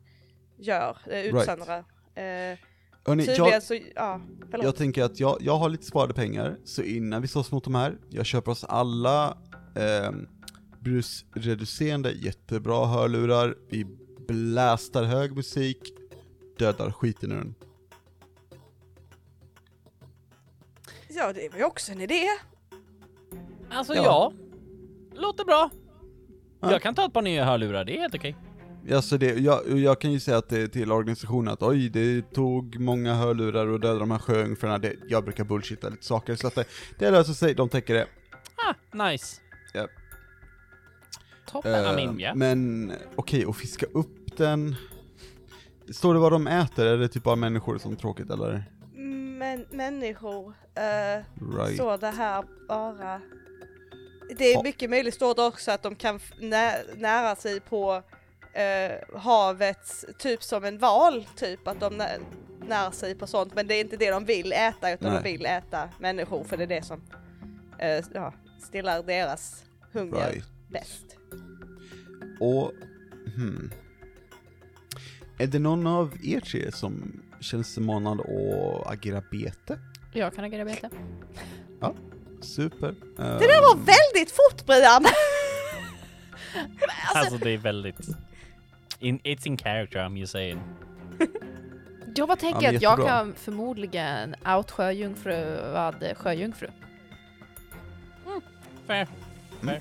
gör, eh, utsöndrar. Eh,
Hörni,
tydligen
jag,
så, ja, förlåt.
jag tänker att jag, jag har lite sparade pengar, så innan vi slåss mot de här, jag köper oss alla eh, brusreducerande, jättebra hörlurar, vi blästar hög musik, dödar skiten ur den.
ja, det var ju också en idé.
Alltså
Ja.
ja. Låter bra.
Ja.
Jag kan ta ett par nya hörlurar, det är helt okej.
Alltså det, jag, jag kan ju säga att det, till organisationen att oj, det tog många hörlurar och dödade de här sjöjungfrurna, Det- jag brukar bullshitta lite saker, så att det, det löser sig, de täcker det.
Ah, nice.
Ja.
Toppen,
Eh,
Amin, ja.
Men okej, och fiska upp den... Står det vad de äter? Är det typ bara människor som är tråkigt eller?
Men människor, eh,
Right.
så det här bara... Det är
Ja.
mycket möjligt står det också att de kan f- nä- nära sig på eh, havets, typ som en val, typ att de nä- när sig på sånt. Men det är inte det de vill äta utan de
Nej.
vill äta människor för det är det som eh, ja, stillar deras hunger
Right.
bäst.
Och... Hmm. Är det någon av er tre som känns sig manad att agera bete?
Jag kan agera bete.
Super. Ehm,
Det där var
Mm.
väldigt fort Brian!
Alltså det är väldigt... In, it's in character, I'm just saying.
Jag bara
Ja,
tänker
men
att jag
jättebra.
kan förmodligen out sjöjungfruad sjöjungfru.
Fair.
Mm.
Fair.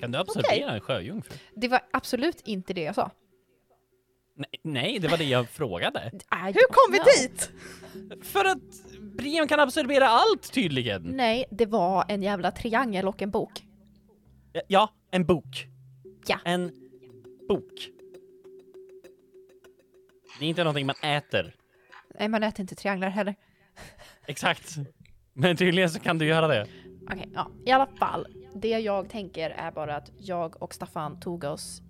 Kan du absorbera
Okej.
en sjöjungfru?
Det var absolut inte det jag sa.
Nej, nej, det var det jag frågade.
I
Hur kom vi
don't know.
dit?
För att Brian kan absorbera allt tydligen.
Nej, det var en jävla triangel och en bok.
Eh, Ja, en bok.
Ja.
En bok. Det är inte någonting man äter.
Nej, man äter inte trianglar heller.
Exakt. Men tydligen så kan du göra det.
Okej, ja. I alla fall. Det jag tänker är bara att jag och Staffan tog oss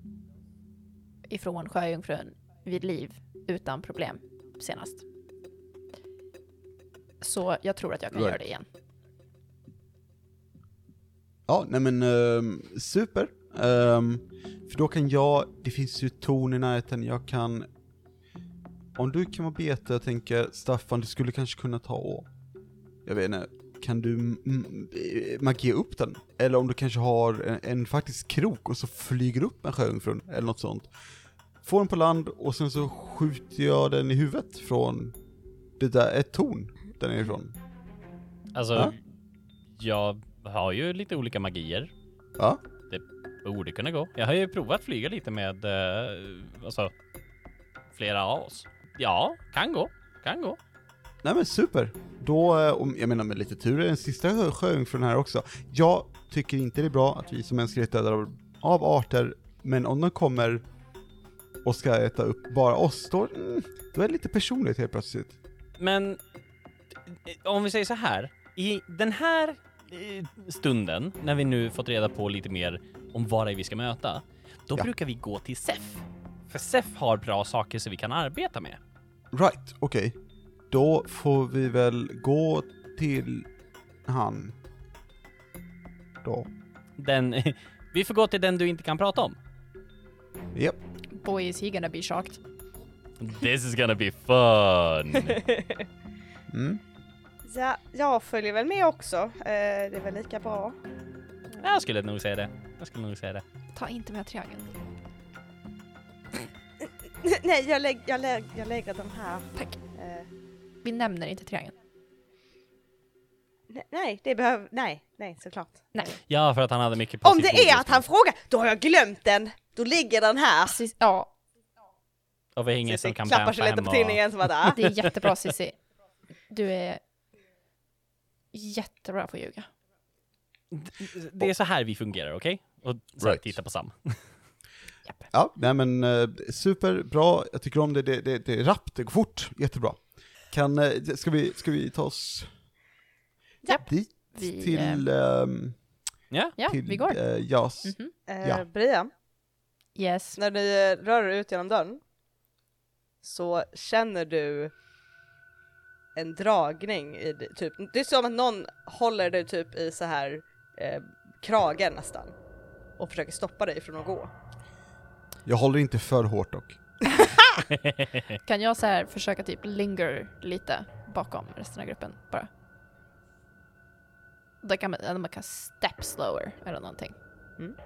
ifrån Sjöjungfrun vid liv utan problem senast. Så jag tror att jag kan
Right.
göra det igen.
Ja, nej men ehm, super. Ehm, för då kan jag, det finns ju torn i närheten, jag kan... Om du kan vara bete, jag tänker Staffan, du skulle kanske kunna ta och... Jag vet inte, kan du mm, mm, eh, magi upp den? Eller om du kanske har en, en faktisk krok och så flyger upp en sjöjungfrun, eller något sånt. Får den på land och sen så skjuter jag den i huvudet från det där, ett torn där nerifrån.
Alltså,
Ja.
jag har ju lite olika magier.
Ja,
Borde kunna gå. Jag har ju provat flyga lite med, eh, alltså, flera av oss. Ja, kan gå. Kan gå.
Nej men super. Då, eh, om, jag menar med lite tur är det den sista sjö- sjöjungfrun här också. Jag tycker inte det är bra att vi som mänsklighet dödar av- av arter, men om de kommer och ska äta upp bara oss, då, mm, då är det lite personligt helt plötsligt.
Men eh, om vi säger så här. I den här eh, stunden, när vi nu fått reda på lite mer om vad det är vi ska möta, då
Ja.
brukar vi gå till SEF. För SEF har bra saker som vi kan arbeta med.
Right, okej. Då får vi väl gå till han. Då.
Den, vi får gå till den du inte kan prata om.
Japp.
Boy is he gonna be shocked.
This is gonna be fun!
Mm.
Ja, jag följer väl med också. Eh, det är väl lika bra.
Jag skulle nog säga det. Jag skulle nog säga det.
Ta inte med triangeln.
Nej, jag, lägg, jag, lägg, jag lägger den här.
Tack.
Eh,
Vi nämner inte triangeln.
ne- nej, det behöver... Nej, nej, såklart.
Ja, för att han hade mycket på
Om
sitt
det
bord liksom. just
är att han frågar, då har jag glömt den! Då ligger den
Ah.
här!
Sis- ja,
Och vi har ingen som kan
klappar sig lite
bamfa
på
hem och-
tinningen som att ah,
det är jättebra Cissi. Du är jättebra på att ljuga.
Det är så här vi fungerar, okej? Och så här,
Right.
titta på Sam.
Ja, nej men eh, superbra. Jag tycker om det. Det, det, det är rappt, det går fort. Jättebra. Kan, eh, ska, vi, ska vi ta oss
Japp.
dit?
Vi, eh,
till... ehm,
Ja,
Ja,
till,
vi går.
eh, Jas.
Mhm.
eh,
Ja.
Brian,
Yes.
när ni eh, rör er ut genom dörren så känner du en dragning i di- typ, det är som att någon håller dig typ i så här eh, kragen nästan och försöker stoppa dig från att gå.
Jag håller inte för hårt dock.
Kan jag så här försöka typ linger lite bakom resten av gruppen bara? Då kan man, eller man kan step slower eller någonting.
Mm.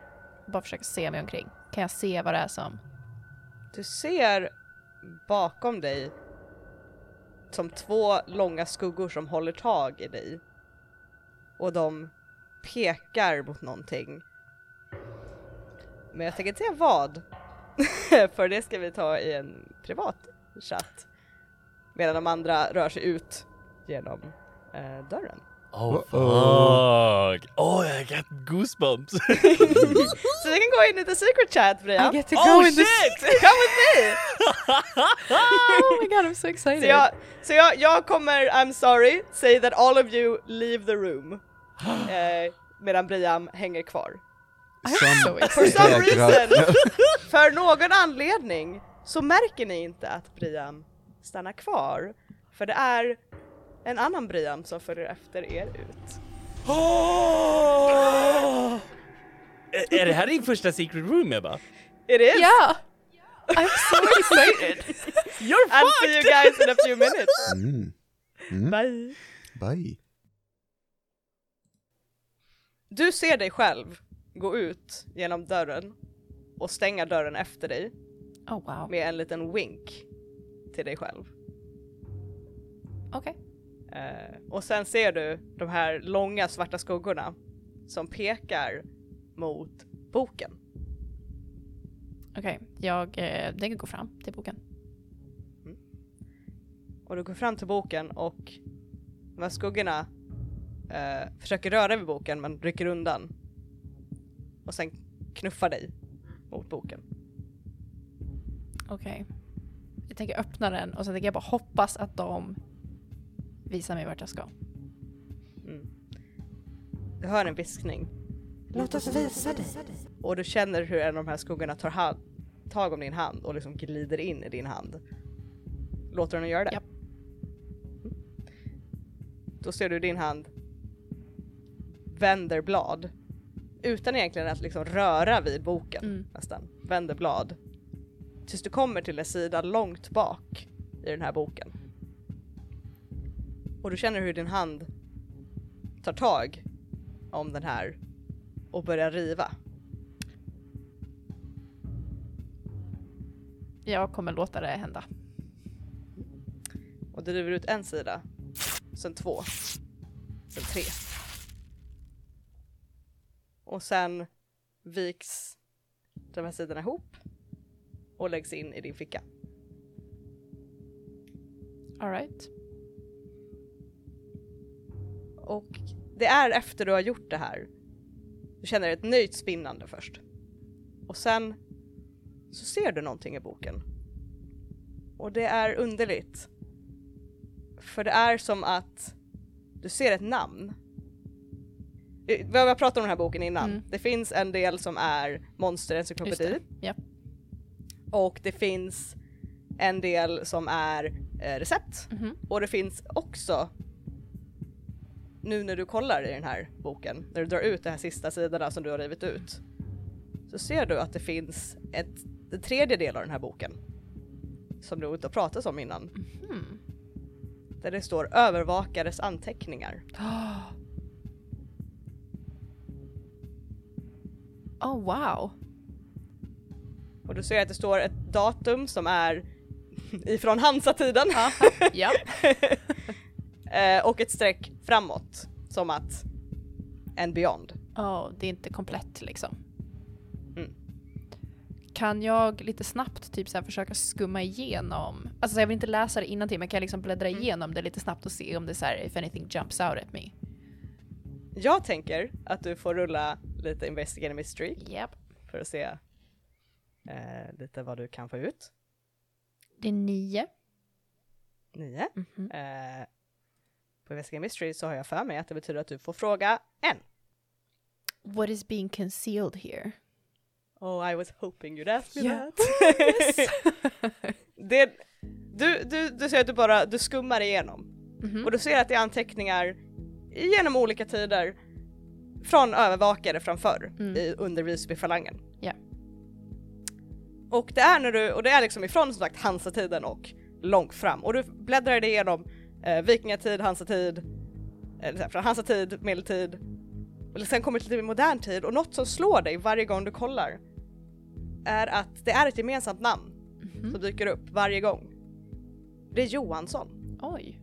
Bara försöka se mig omkring. Kan jag se vad det är som...
Du ser bakom dig som två långa skuggor som håller tag i dig. Och de pekar mot någonting. Men jag tänker inte säga vad. För det ska vi ta i en privat chatt. Medan de andra rör sig ut genom eh, dörren.
Oh fuck!
Uh-oh.
Oh, I got goosebumps!
Så vi kan gå in i the secret chat Brian.
get to
oh shit!
Come with me!
Oh my god, I'm so excited!
Så, jag, så jag, jag kommer, I'm sorry, say that all of you leave the room. Eh, medan Brian hänger kvar.
I'm so
For
excited.
some
Vägrar.
reason, för någon anledning, så märker ni inte att Brian stannar kvar. För det är en annan Brian som följer efter er ut.
Oh! Ä- Är det här din första secret room Ebba?
It is!
Yeah! I'm so excited!
You're I'll see you guys in a few minutes!
Mm. Mm.
Bye!
Bye.
Du ser dig själv gå ut genom dörren och stänga dörren efter dig.
Oh wow.
med en liten wink till dig själv.
Okej.
Eh, och sen ser du de här långa svarta skuggorna som pekar mot boken.
Okej, jag eh, tänker gå fram till boken.
Och du går fram till boken och de här skuggorna eh, försöker röra vid boken men rycker undan. Och sen knuffar dig mot boken.
Okej. Jag tänker öppna den och sen tänker jag bara hoppas att de visar mig vart jag ska.
Mm. Du hör en viskning. Låt oss visa dig. Och du känner hur en av de här skuggorna tar hand, tag om din hand och liksom glider in i din hand. Låter den göra det?
Japp.
Mm. Då ser du din hand vänder blad. Utan egentligen att liksom röra vid boken
Mm.
nästan. Vänder blad. Tills du kommer till en sida långt bak i den här boken. Och du känner hur din hand tar tag om den här och börjar riva.
Jag kommer låta det hända.
Och du river ut en sida, sen två, sen tre. Och sen viks de här sidorna ihop och läggs in i din ficka.
Alright.
Och det är efter du har gjort det här. Du känner ett nöjt spinnande först. Och sen så ser du någonting i boken. Och det är underligt. För det är som att du ser ett namn. eh, vi har pratat om den här boken innan.
Mm.
Det finns en del som är monsterencyklopedi.
Just det, ja.
Och det finns en del som är eh, recept.
Mhm.
Och det finns också, nu när du kollar i den här boken, när du drar ut de här sista sidorna som du har rivit ut, så ser du att det finns ett, en tredje del av den här boken som du inte har pratat om innan.
Mm-hmm.
Där det står övervakares anteckningar.
Oh wow.
Och du ser att det står ett datum som är ifrån Hansa-tiden.
Ja.
Eh, och ett streck framåt som att en beyond.
Oh, det är inte komplett liksom.
Mm.
Kan jag lite snabbt typ så här, försöka skumma igenom? Alltså jag vill inte läsa det innantill men kan jag liksom bläddra igenom det lite snabbt och se om det är så här if anything jumps out at me?
Jag tänker att du får rulla lite Investigating Mystery
Yep.
för att se eh, lite vad du kan få ut.
Det är nio.
Nio.
Mm-hmm.
Eh, på Investigating Mystery så har jag för mig att det betyder att du får fråga en.
What is being concealed here?
Oh I was hoping you'd ask me
Yeah.
that. det, du, du, du ser att du bara du skummar igenom
Mhm.
och du ser att det är anteckningar genom olika tider från övervakare från förr
Mm.
i, under Visbyfalangen.
Ja.
Och det är när du, och det är liksom ifrån som sagt Hansatiden och långt fram och du bläddrar dig igenom eh, vikingatid, Hansatid, eh, så här, från Hansatid, medeltid, och sen kommer det till typ modern tid och något som slår dig varje gång du kollar är att det är ett gemensamt namn
Mm-hmm. Mm.
som dyker upp varje gång. Det är Johansson.
Oj.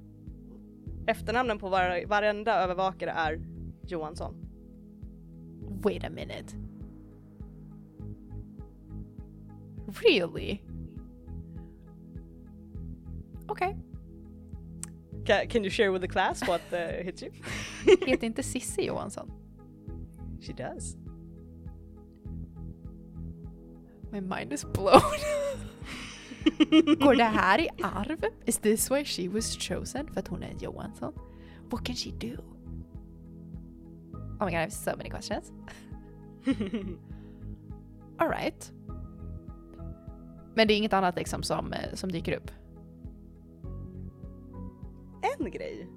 Efternamnen på var- varenda övervakare är Johansson.
Wait a minute. Really? Okej.
Ca can you share with the class what uh, hit you?
Heter inte Sissi Johansson?
She does.
My mind is blown. Går det här i arv? Is this why she was chosen? För att hon är en Johansson? What can she do? Oh my god, I have so many questions. Alright. Men det är inget annat liksom som, eh, som dyker upp?
En grej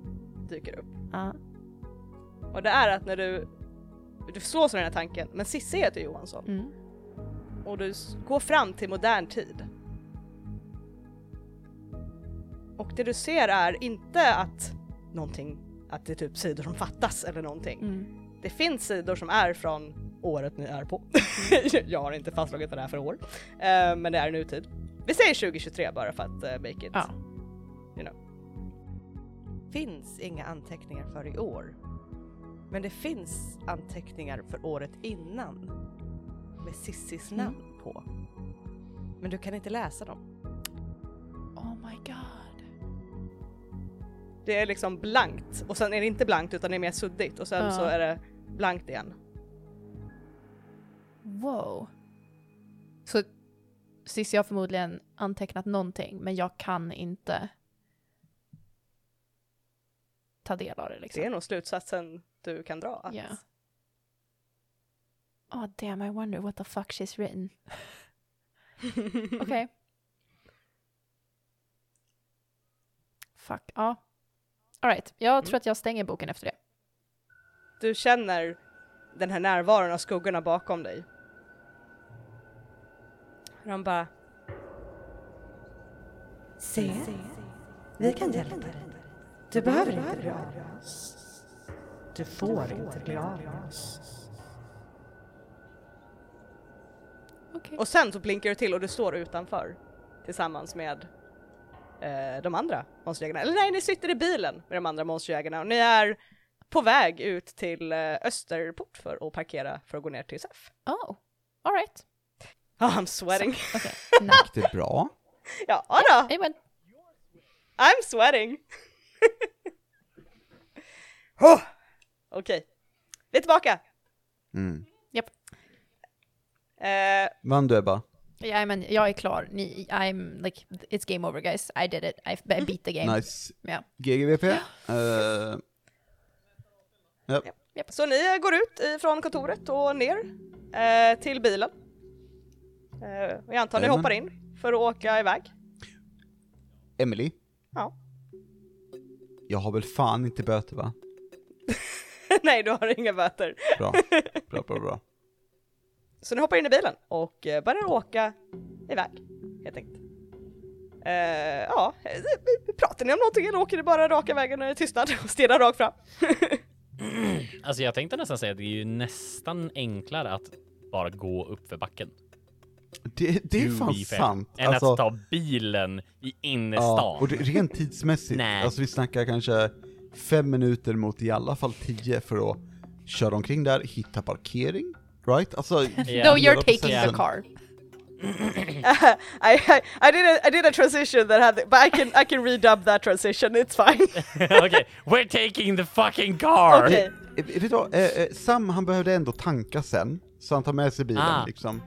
dyker upp
Ja.
och det är att när du du slås av den här tanken, men Cissi heter Johansson
Mm.
och du s- går fram till modern tid. Och det du ser är inte att någonting, att det är typ sidor som fattas eller någonting.
Mm.
Det finns sidor som är från året ni är på.
Mm.
jag har inte fastslagit vad det är för år, Eh, men det är nutid. Vi säger 2023 bara för att eh, make it.
Ja.
You know. Finns inga anteckningar för i år. Men det finns anteckningar för året innan med Sissis
Mm.
namn på. Men du kan inte läsa dem.
Oh my god.
Det är liksom blankt och sen är det inte blankt utan det är mer suddigt och sen
Ja.
så är det blankt igen.
Wow. Så Cissi har förmodligen antecknat någonting men jag kan inte ta del av det liksom.
Det är nog slutsatsen du kan dra. Att
Yeah. Oh damn, I wonder what the fuck she's written. Okej. Fuck, ja. Alright, jag tror att jag stänger boken efter det.
Du känner den här närvaron av skuggorna bakom dig. De bara,
Se, vi kan hjälpa dig. Du behöver inte bli av med oss. Du får inte bli av med oss.
Okej.
och sen så blinkar du till och du står utanför tillsammans med eh, de andra monsterjägarna. Eller nej, ni sitter i bilen med de andra monsterjägarna och ni är på väg ut till eh, Österport för att parkera för att gå ner till SEF.
Oh, alright.
Oh, I'm sweating.
Okej, nice.
Gick det bra?
ja, då.
Det var-
I'm sweating! oh, Okej, vi är tillbaka!
Mm.
Eh,
Vann du Ebba?
Ja, men jag är klar. Ni, I'm like, it's game over guys. I did it. I, I beat the game.
Nice.
Ja.
GGVP? Eh, ja.
Så ni går ut ifrån kontoret och ner eh, till bilen. Eh, och jag antar ni
Jajamän.
hoppar in för att åka iväg.
Emily?
Ja.
Jag har väl fan inte böter va?
Nej, du har inga böter.
Bra, bra, bra, bra.
Så ni hoppar in i bilen och eh, börjar åka iväg, helt enkelt. Eh, ja, eh, pratar ni om någonting eller åker ni bara raka vägen i tystnad och stirrar rakt fram?
Alltså jag tänkte nästan säga att det är ju nästan enklare att bara gå upp för backen.
Det, det är
To
fan
be fair.
sant. Alltså-
Än att ta bilen i
ja,
innerstan.
och det, rent tidsmässigt,
Nej.
alltså vi snackar kanske fem minuter mot i alla fall tio för att köra omkring där, hitta parkering, right? Alltså,
Yeah.
No, you're
hela
taking the
processen.
car.
I, I, I, did a, I did a transition that had, but I can, I can redub that transition, it's fine.
Okej, we're taking the fucking car!
Okej.
Eh, Vet du vad, eh, eh, Sam han behövde ändå tanka sen, så han tar med sig bilen
Ah.
liksom.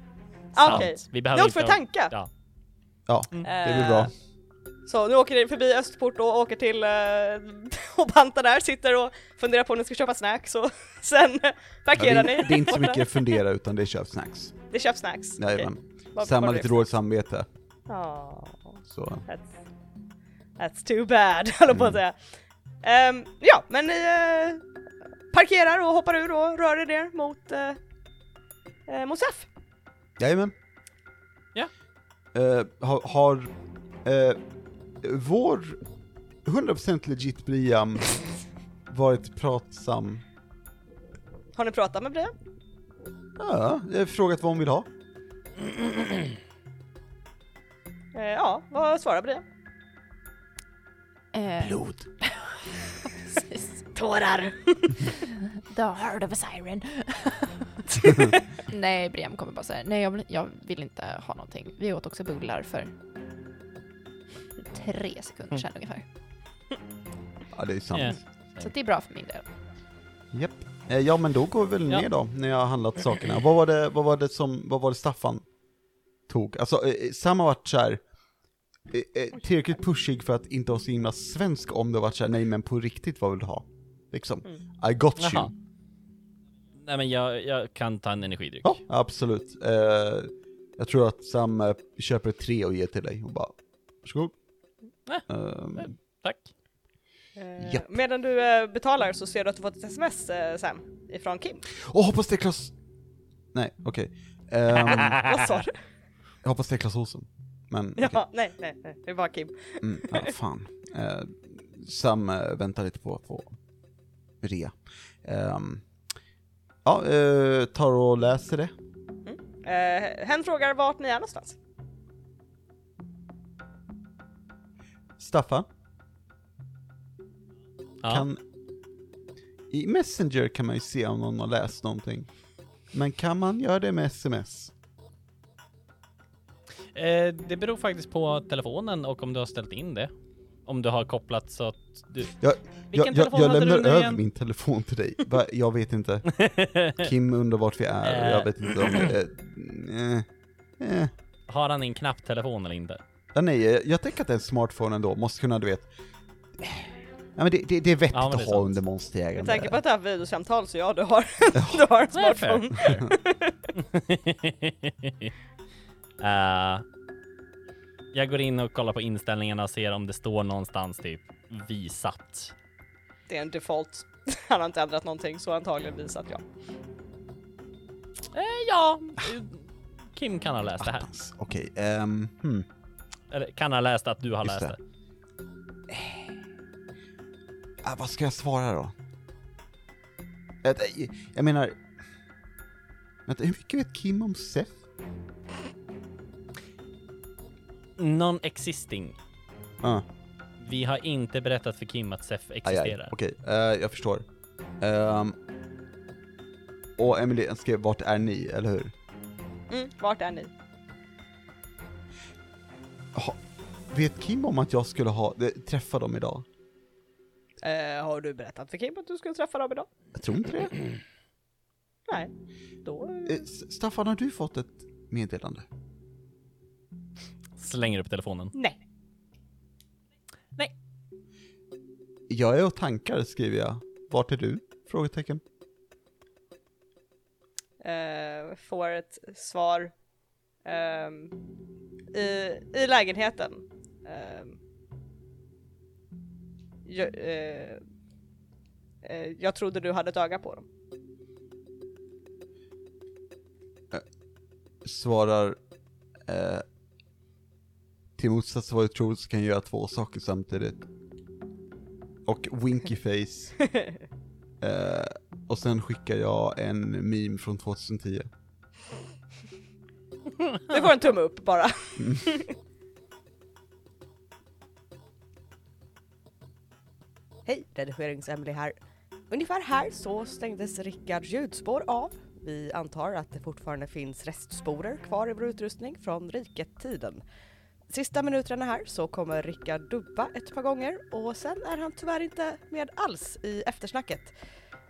Ah,
Sant.
Okej,
Vi
ni
behöver
åker
inte
för att
ha-
tanka.
Ja.
Ja,
Mm.
det blir
Eh,
bra.
Så nu åker ni förbi Östport och åker till eh, och bantar där, sitter och funderar på om ni ska köpa snacks och sen
Ja, det,
parkerar ni.
är, det är inte så
borta.
mycket fundera utan det är köp snacks.
Det köps snacks.
Jajamän.
Vad-
Sam
vad
har
det
lite
är.
dåligt samvete,
Ja,
så
that's, that's too bad, höll jag på att säga.
Mm.
Ehm, ja, men ni eh, parkerar och hoppar ur och rör er ner mot, eh, eh, mot SEF.
jajamän.
Ja.
Eh, har, har eh, vår 100% legit Briam varit pratsam?
Har ni pratat med Brian?
Ja, jag har frågat vad hon vill ha.
Eh, ja, vad svarar Brian?
Eh,
Blod.
Tårar!
the heart of a siren.
Nej, Brian kommer bara säga nej, jag vill, jag vill inte ha någonting. Vi åt också bullar för tre sekunder sedan ungefär.
Ja, det är sant.
Ja.
Så det är bra för min del.
Japp. Eh, Ja men då går vi väl
Ja.
ner då, när jag har handlat sakerna. Vad var det, vad var det som, vad var det Staffan tog? Alltså, eh, Sam har varit såhär, eh, eh, tillräckligt pushig för att inte vara så himla svensk om det har varit såhär, nej men på riktigt vad vill du ha? Liksom,
Mm.
I got you.
Jaha. Nej men jag, jag kan ta en energidryck.
Ja, absolut. Eh, jag tror att Sam eh, köper tre och ger till dig och bara, varsågod.
Nej.
Ehm,
Tack.
Eh,
Japp.
medan du eh, betalar så ser du att du fått ett sms eh, Sam, ifrån Kim.
Åh, hoppas det är Klas... Nej, okej. Ehm,
Vad sa du?
jag hoppas det är Klas Olsson. Men, okej.
Ja, nej, nej, nej, det var Kim.
Mm, ja, fan. Eh, Sam eh, väntar lite på att få rea. Ehm, ja, eh, tar och läser det.
Eh, hen frågar vart ni är någonstans.
Staffan,
Ja.
kan... I Messenger kan man ju se om någon har läst någonting. Men kan man göra det med sms?
Eh, det beror faktiskt på telefonen och om du har ställt in det. Om du har kopplat så att du...
Jag, jag,
Vilken
jag,
telefon
jag
hade du
lämnar
nu
över
igen?
min telefon till dig. Va? Jag vet inte. Kim undrar vart vi är och jag
Eh.
vet inte om det är... Eh, eh.
Har han en knapptelefon eller inte?
Ja, nej, eh, jag tänker att en smartphone ändå måste kunna, du vet... Ja, men det, det, det är vettigt
Ja, men det
att
är
ha
sant.
under
Med
monsterjägande.
tanke på att det här är videosamtal så ja, du har, du har en
Nej, fair,
smartphone.
fair. Eh, jag går in och kollar på inställningarna och ser om det står någonstans typ visat.
Det är en default. Han har inte ändrat någonting så antagligen visat ja.
Eh, ja, eh, Kim kan ha läst det här.
Attans. Okej, ehm... hmm.
Eller kan ha läst att du har
Just
läst det.
det. Ah, vad ska jag svara då? Jag, jag menar... Vänta, hur mycket vet Kim om Seth?
Non-existing.
Ah,
Vi har inte berättat för Kim att SEF
aj,
existerar.
aj. Okej, eh, jag förstår. Ehm... och Emily jag skrev vart är ni, eller hur?
Mm, vart är ni?
Ha, vet Kim om att jag skulle ha, eh, träffa dem idag?
Eh, har du berättat för Kim att du skulle träffa dem idag?
Jag tror inte det.
Nej. Då...
Eh, S- Staffan, har du fått ett meddelande?
Slänger upp telefonen.
Nej.
Jag är och tankar, skriver jag. Vart är du? Frågetecken.
Eh, får ett svar ehm, i, i lägenheten. Ehm, jag, eh, eh, jag trodde du hade ett öga på dem.
Svarar eh, till motsats till vad jag tror så kan jag göra två saker samtidigt. Och winky face. eh, och sen skickar jag en meme från 2010.
Du får en tumme upp bara. Hej, redigerings-Emily här. Ungefär här så stängdes Rickards ljudspår av. Vi antar att det fortfarande finns restsporer kvar i vår utrustning från riket-tiden. Sista minuterna här så kommer Rickard dubba ett par gånger och sen är han tyvärr inte med alls i eftersnacket.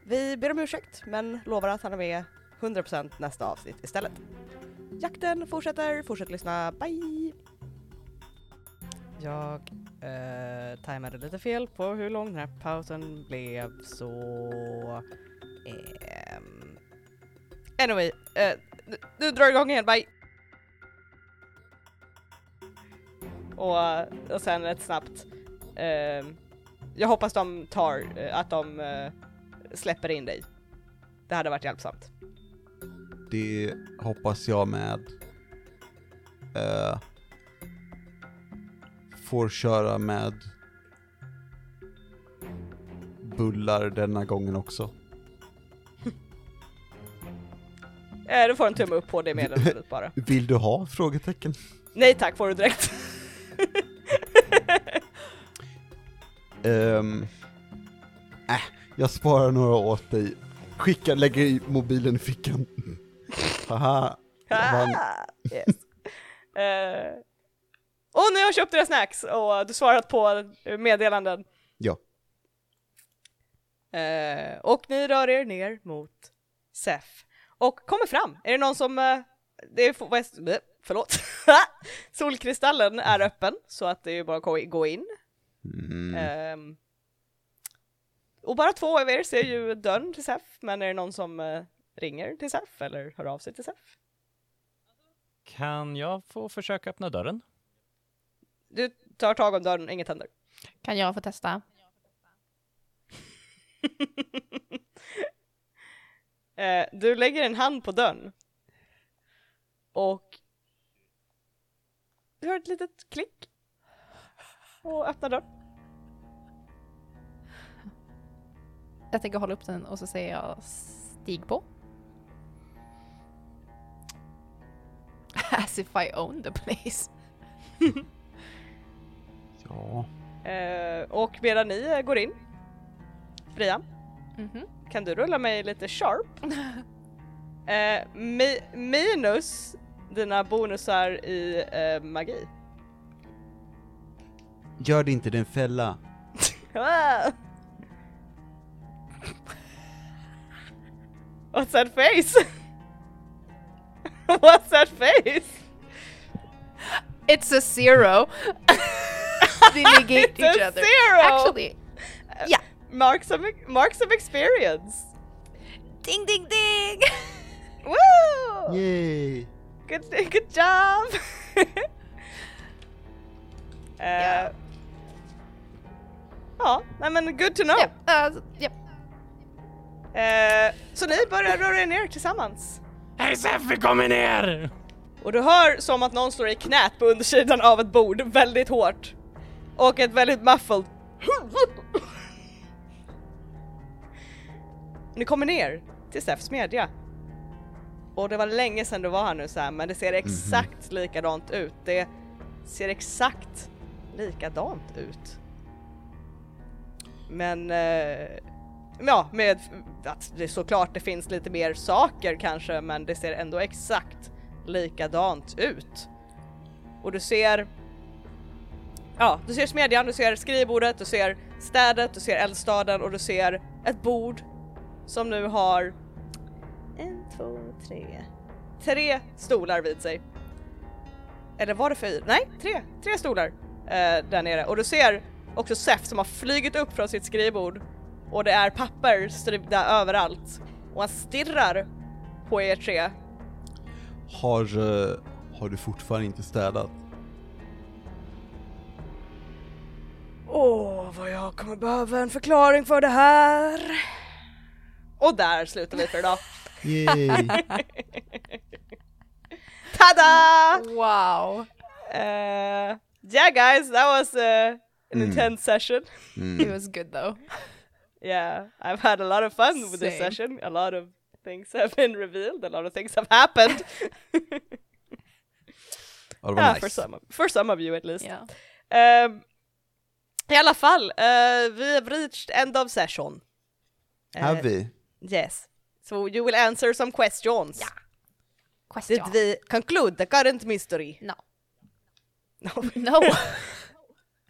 Vi ber om ursäkt men lovar att han är med 100% nästa avsnitt istället. Jakten fortsätter, fortsätt lyssna, bye! Jag eh, tajmade lite fel på hur lång den här pausen blev så... ehm, Anyway, eh, nu- nu drar jag igång igen, bye! Och, och sen rätt snabbt. ehm, jag hoppas de tar, eh, att de eh, släpper in dig. Det hade varit hjälpsamt.
Det hoppas jag med. Eh, får köra med bullar denna gången också.
Eh, du får en tumme upp på det meddelandet bara.
Vill du ha? Frågetecken.
Nej tack får du direkt.
Ehm, äh, jag sparar några åt dig. Skickar, lägger i mobilen i fickan. Haha. Vann.
Ah, yes. Eh, och nu har jag köpt dina snacks och du svarat på meddelanden.
Ja.
Eh, och ni rör er ner mot SEF och kommer fram. Är det någon som... eh, det är, fo- vad är- bleh, förlåt. Solkristallen är öppen så att det är bara att gå i- gå in.
Mm.
Ehm, och bara två av er ser ju dörren till SEF, men är det någon som eh, ringer till SEF eller hör av sig till SEF?
Kan jag få försöka öppna dörren?
Du tar tag om dörren, inget händer.
Kan jag få testa?
Eh, du lägger en hand på dörren. Och du hör ett litet klick. Och öppnar dörren.
Jag tänker hålla upp den och så säger jag stig på.
As if I own the place.
Ja.
Eh, och medan ni eh, går in. Fria,
Mm-hmm.
Mhm.
kan du rulla mig lite sharp? Eh, mi- minus dina bonusar i eh, magi.
Gör det inte, det är en fälla.
What's that face? What's that face?
It's a zero. They negate
It's
each
a
other.
zero.
Actually,
Marks of, marks of experience.
Ding, ding, ding!
Woo!
Yay!
Good, good job! Uh, Eh, Ja, nej men good
Oh.
to know.
ja,
Uh,
alltså, ja.
Eh, så ni börjar röra er ner tillsammans.
Hej Sef, vi kommer ner!
Och du hör som att någon slår i knät på undersidan av ett bord väldigt hårt. Och ett väldigt muffled... Ni kommer ner till Steffs smedja. Och det var länge sedan du var här nu Sam, men det ser exakt likadant ut. Det ser exakt likadant ut. Men... Eh, ja, med att det såklart det finns lite mer saker kanske, men det ser ändå exakt likadant ut. Och du ser... Ja, du ser smedjan, du ser skrivbordet, du ser städet, du ser eldstaden och du ser ett bord som nu har... En, två, tre... Tre stolar vid sig. Eller var det fyra? Nej, tre! Tre stolar eh, där nere. Och du ser också Seth som har flugit upp från sitt skrivbord och det är papper stripda överallt. Och han stirrar på er tre
Har, eh, har du fortfarande inte städat?
Åh, vad jag kommer behöva en förklaring för det här. Och där slutar vi för idag.
Yay!
Tada!
Wow.
Uh, yeah guys, that was uh, an
Mm.
intense session.
It
Mm.
was good though.
Yeah, I've had a lot of fun with this
Same.
session. A lot of things have been revealed, a lot of things have happened.
Ja, det var
yeah,
nice.
for, some of, for some of you at least.
Yeah.
Ehm, I alla fall, eh, we have reached end of session.
Har
Eh,
vi?
Yes. So you will answer some questions. Did
Question.
we conclude the current mystery?
No.
No.
No.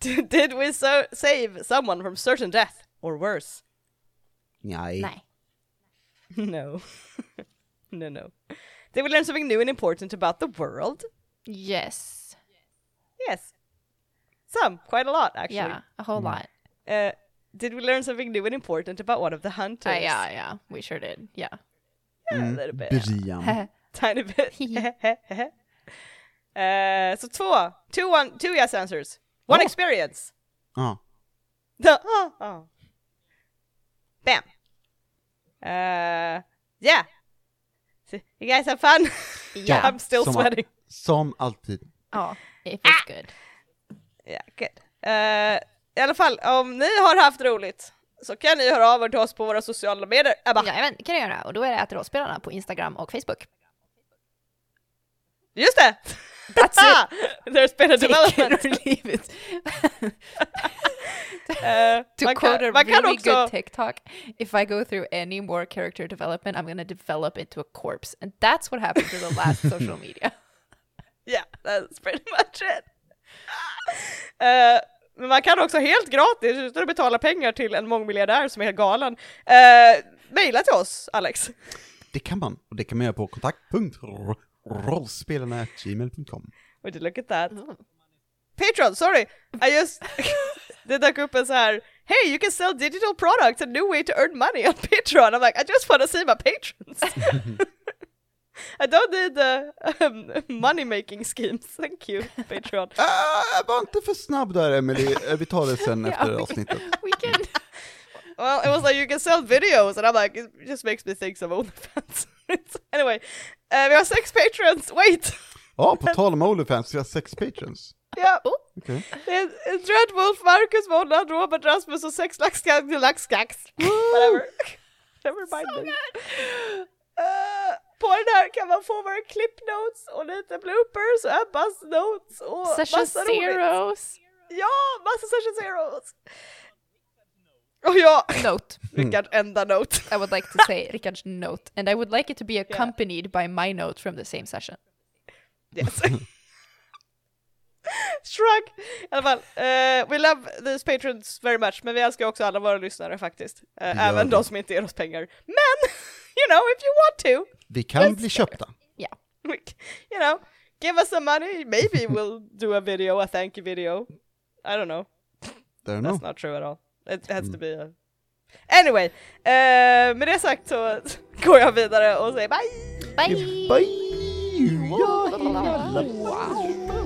Did did we so- save someone from certain death? Or worse?
Nej.
Nej.
No. no, no. They will learn something new and important about the world.
Yes.
Yes. Some, quite a lot, actually.
Yeah. A whole lot.
Uh, did we learn something new and important about one of the hunters?
Uh, yeah. Yeah. We sure did. Yeah.
Yeah, a little bit.
Mm, Brian.
Tiny bit. uh, so two. Two, one, two yes answers. One
Oh.
experience.
Ja.
The, oh, oh. Bam. Uh, yeah. So, you guys have fun?
Yeah.
I'm still
Som-
sweating.
Som alltid.
Oh, it was good.
Ja, good. Eh, I alla fall, om ni har haft roligt så kan ni höra av er till oss på våra sociala medier. Eh, Ebba,
Jajamän, kan jag göra. Och då är det att rollspelarna på Instagram och Facebook.
just det! That's it! There's been a development.
leave it.
Eh,
To
man
quote
kan,
a
man kan
really
också...
good TikTok, if I go through any more character development, I'm gonna develop into a corpse. And that's what happened to the last social media.
Yeah, that's pretty much it. Eh, men man kan också helt gratis, utan att betala pengar till en mångmiljardär som är helt galen, uh, mejla till oss, Alex.
Det kan man. Och det kan man göra på kontakt.rollspelarna.gmail.com.
Would you look at that? Patreon, sorry! I just... det dök upp en så här Hey, you can sell digital products, a new way to earn money on Patreon. I'm like, I just want to see my patrons. I don't need the um, money making schemes. Thank you, Patreon.
Äh, var inte för snabb där Emily. Eh, Vi tar det sen efter avsnittet.
We can
well, it was like you can sell videos, and I'm like, it just makes me think of OnlyFans. anyway, uh, we have six patrons. Wait,
Ja, på tal om Onlyfans, vi har sex patrons.
yeah,
Okej.
It's it's Red Wolf, Marcus, Mona, Robert, Rasmus, och sex laxkax, laxkax. Whatever. Never mind. So uh, på den här kan man få våra clip notes och lite bloopers och Ebbas notes och
session
massa roligt.
zeros.
Ja, massa session zeros! Och jag,
Note.
Rickard, enda note.
I would like to say Ricard's note, and I would like it to be accompanied by my note from the same session.
Yes. Shrug! I alla fall, eh, we love these patrons very much, men vi älskar också alla våra lyssnare faktiskt. Eh,
Vi gör
även
det.
de som inte ger oss pengar. Men, you know, if you want to,
Vi kan bli köpta.
we c- you know, give us some money, maybe we'll do a video, a thank you video. I don't know,
Där
that's
no.
not true at all. It has to be a... Anyway, eh, med det sagt så går jag vidare och säger bye!
Bye!
Bye! Ja, la, la, la, la.
Wow.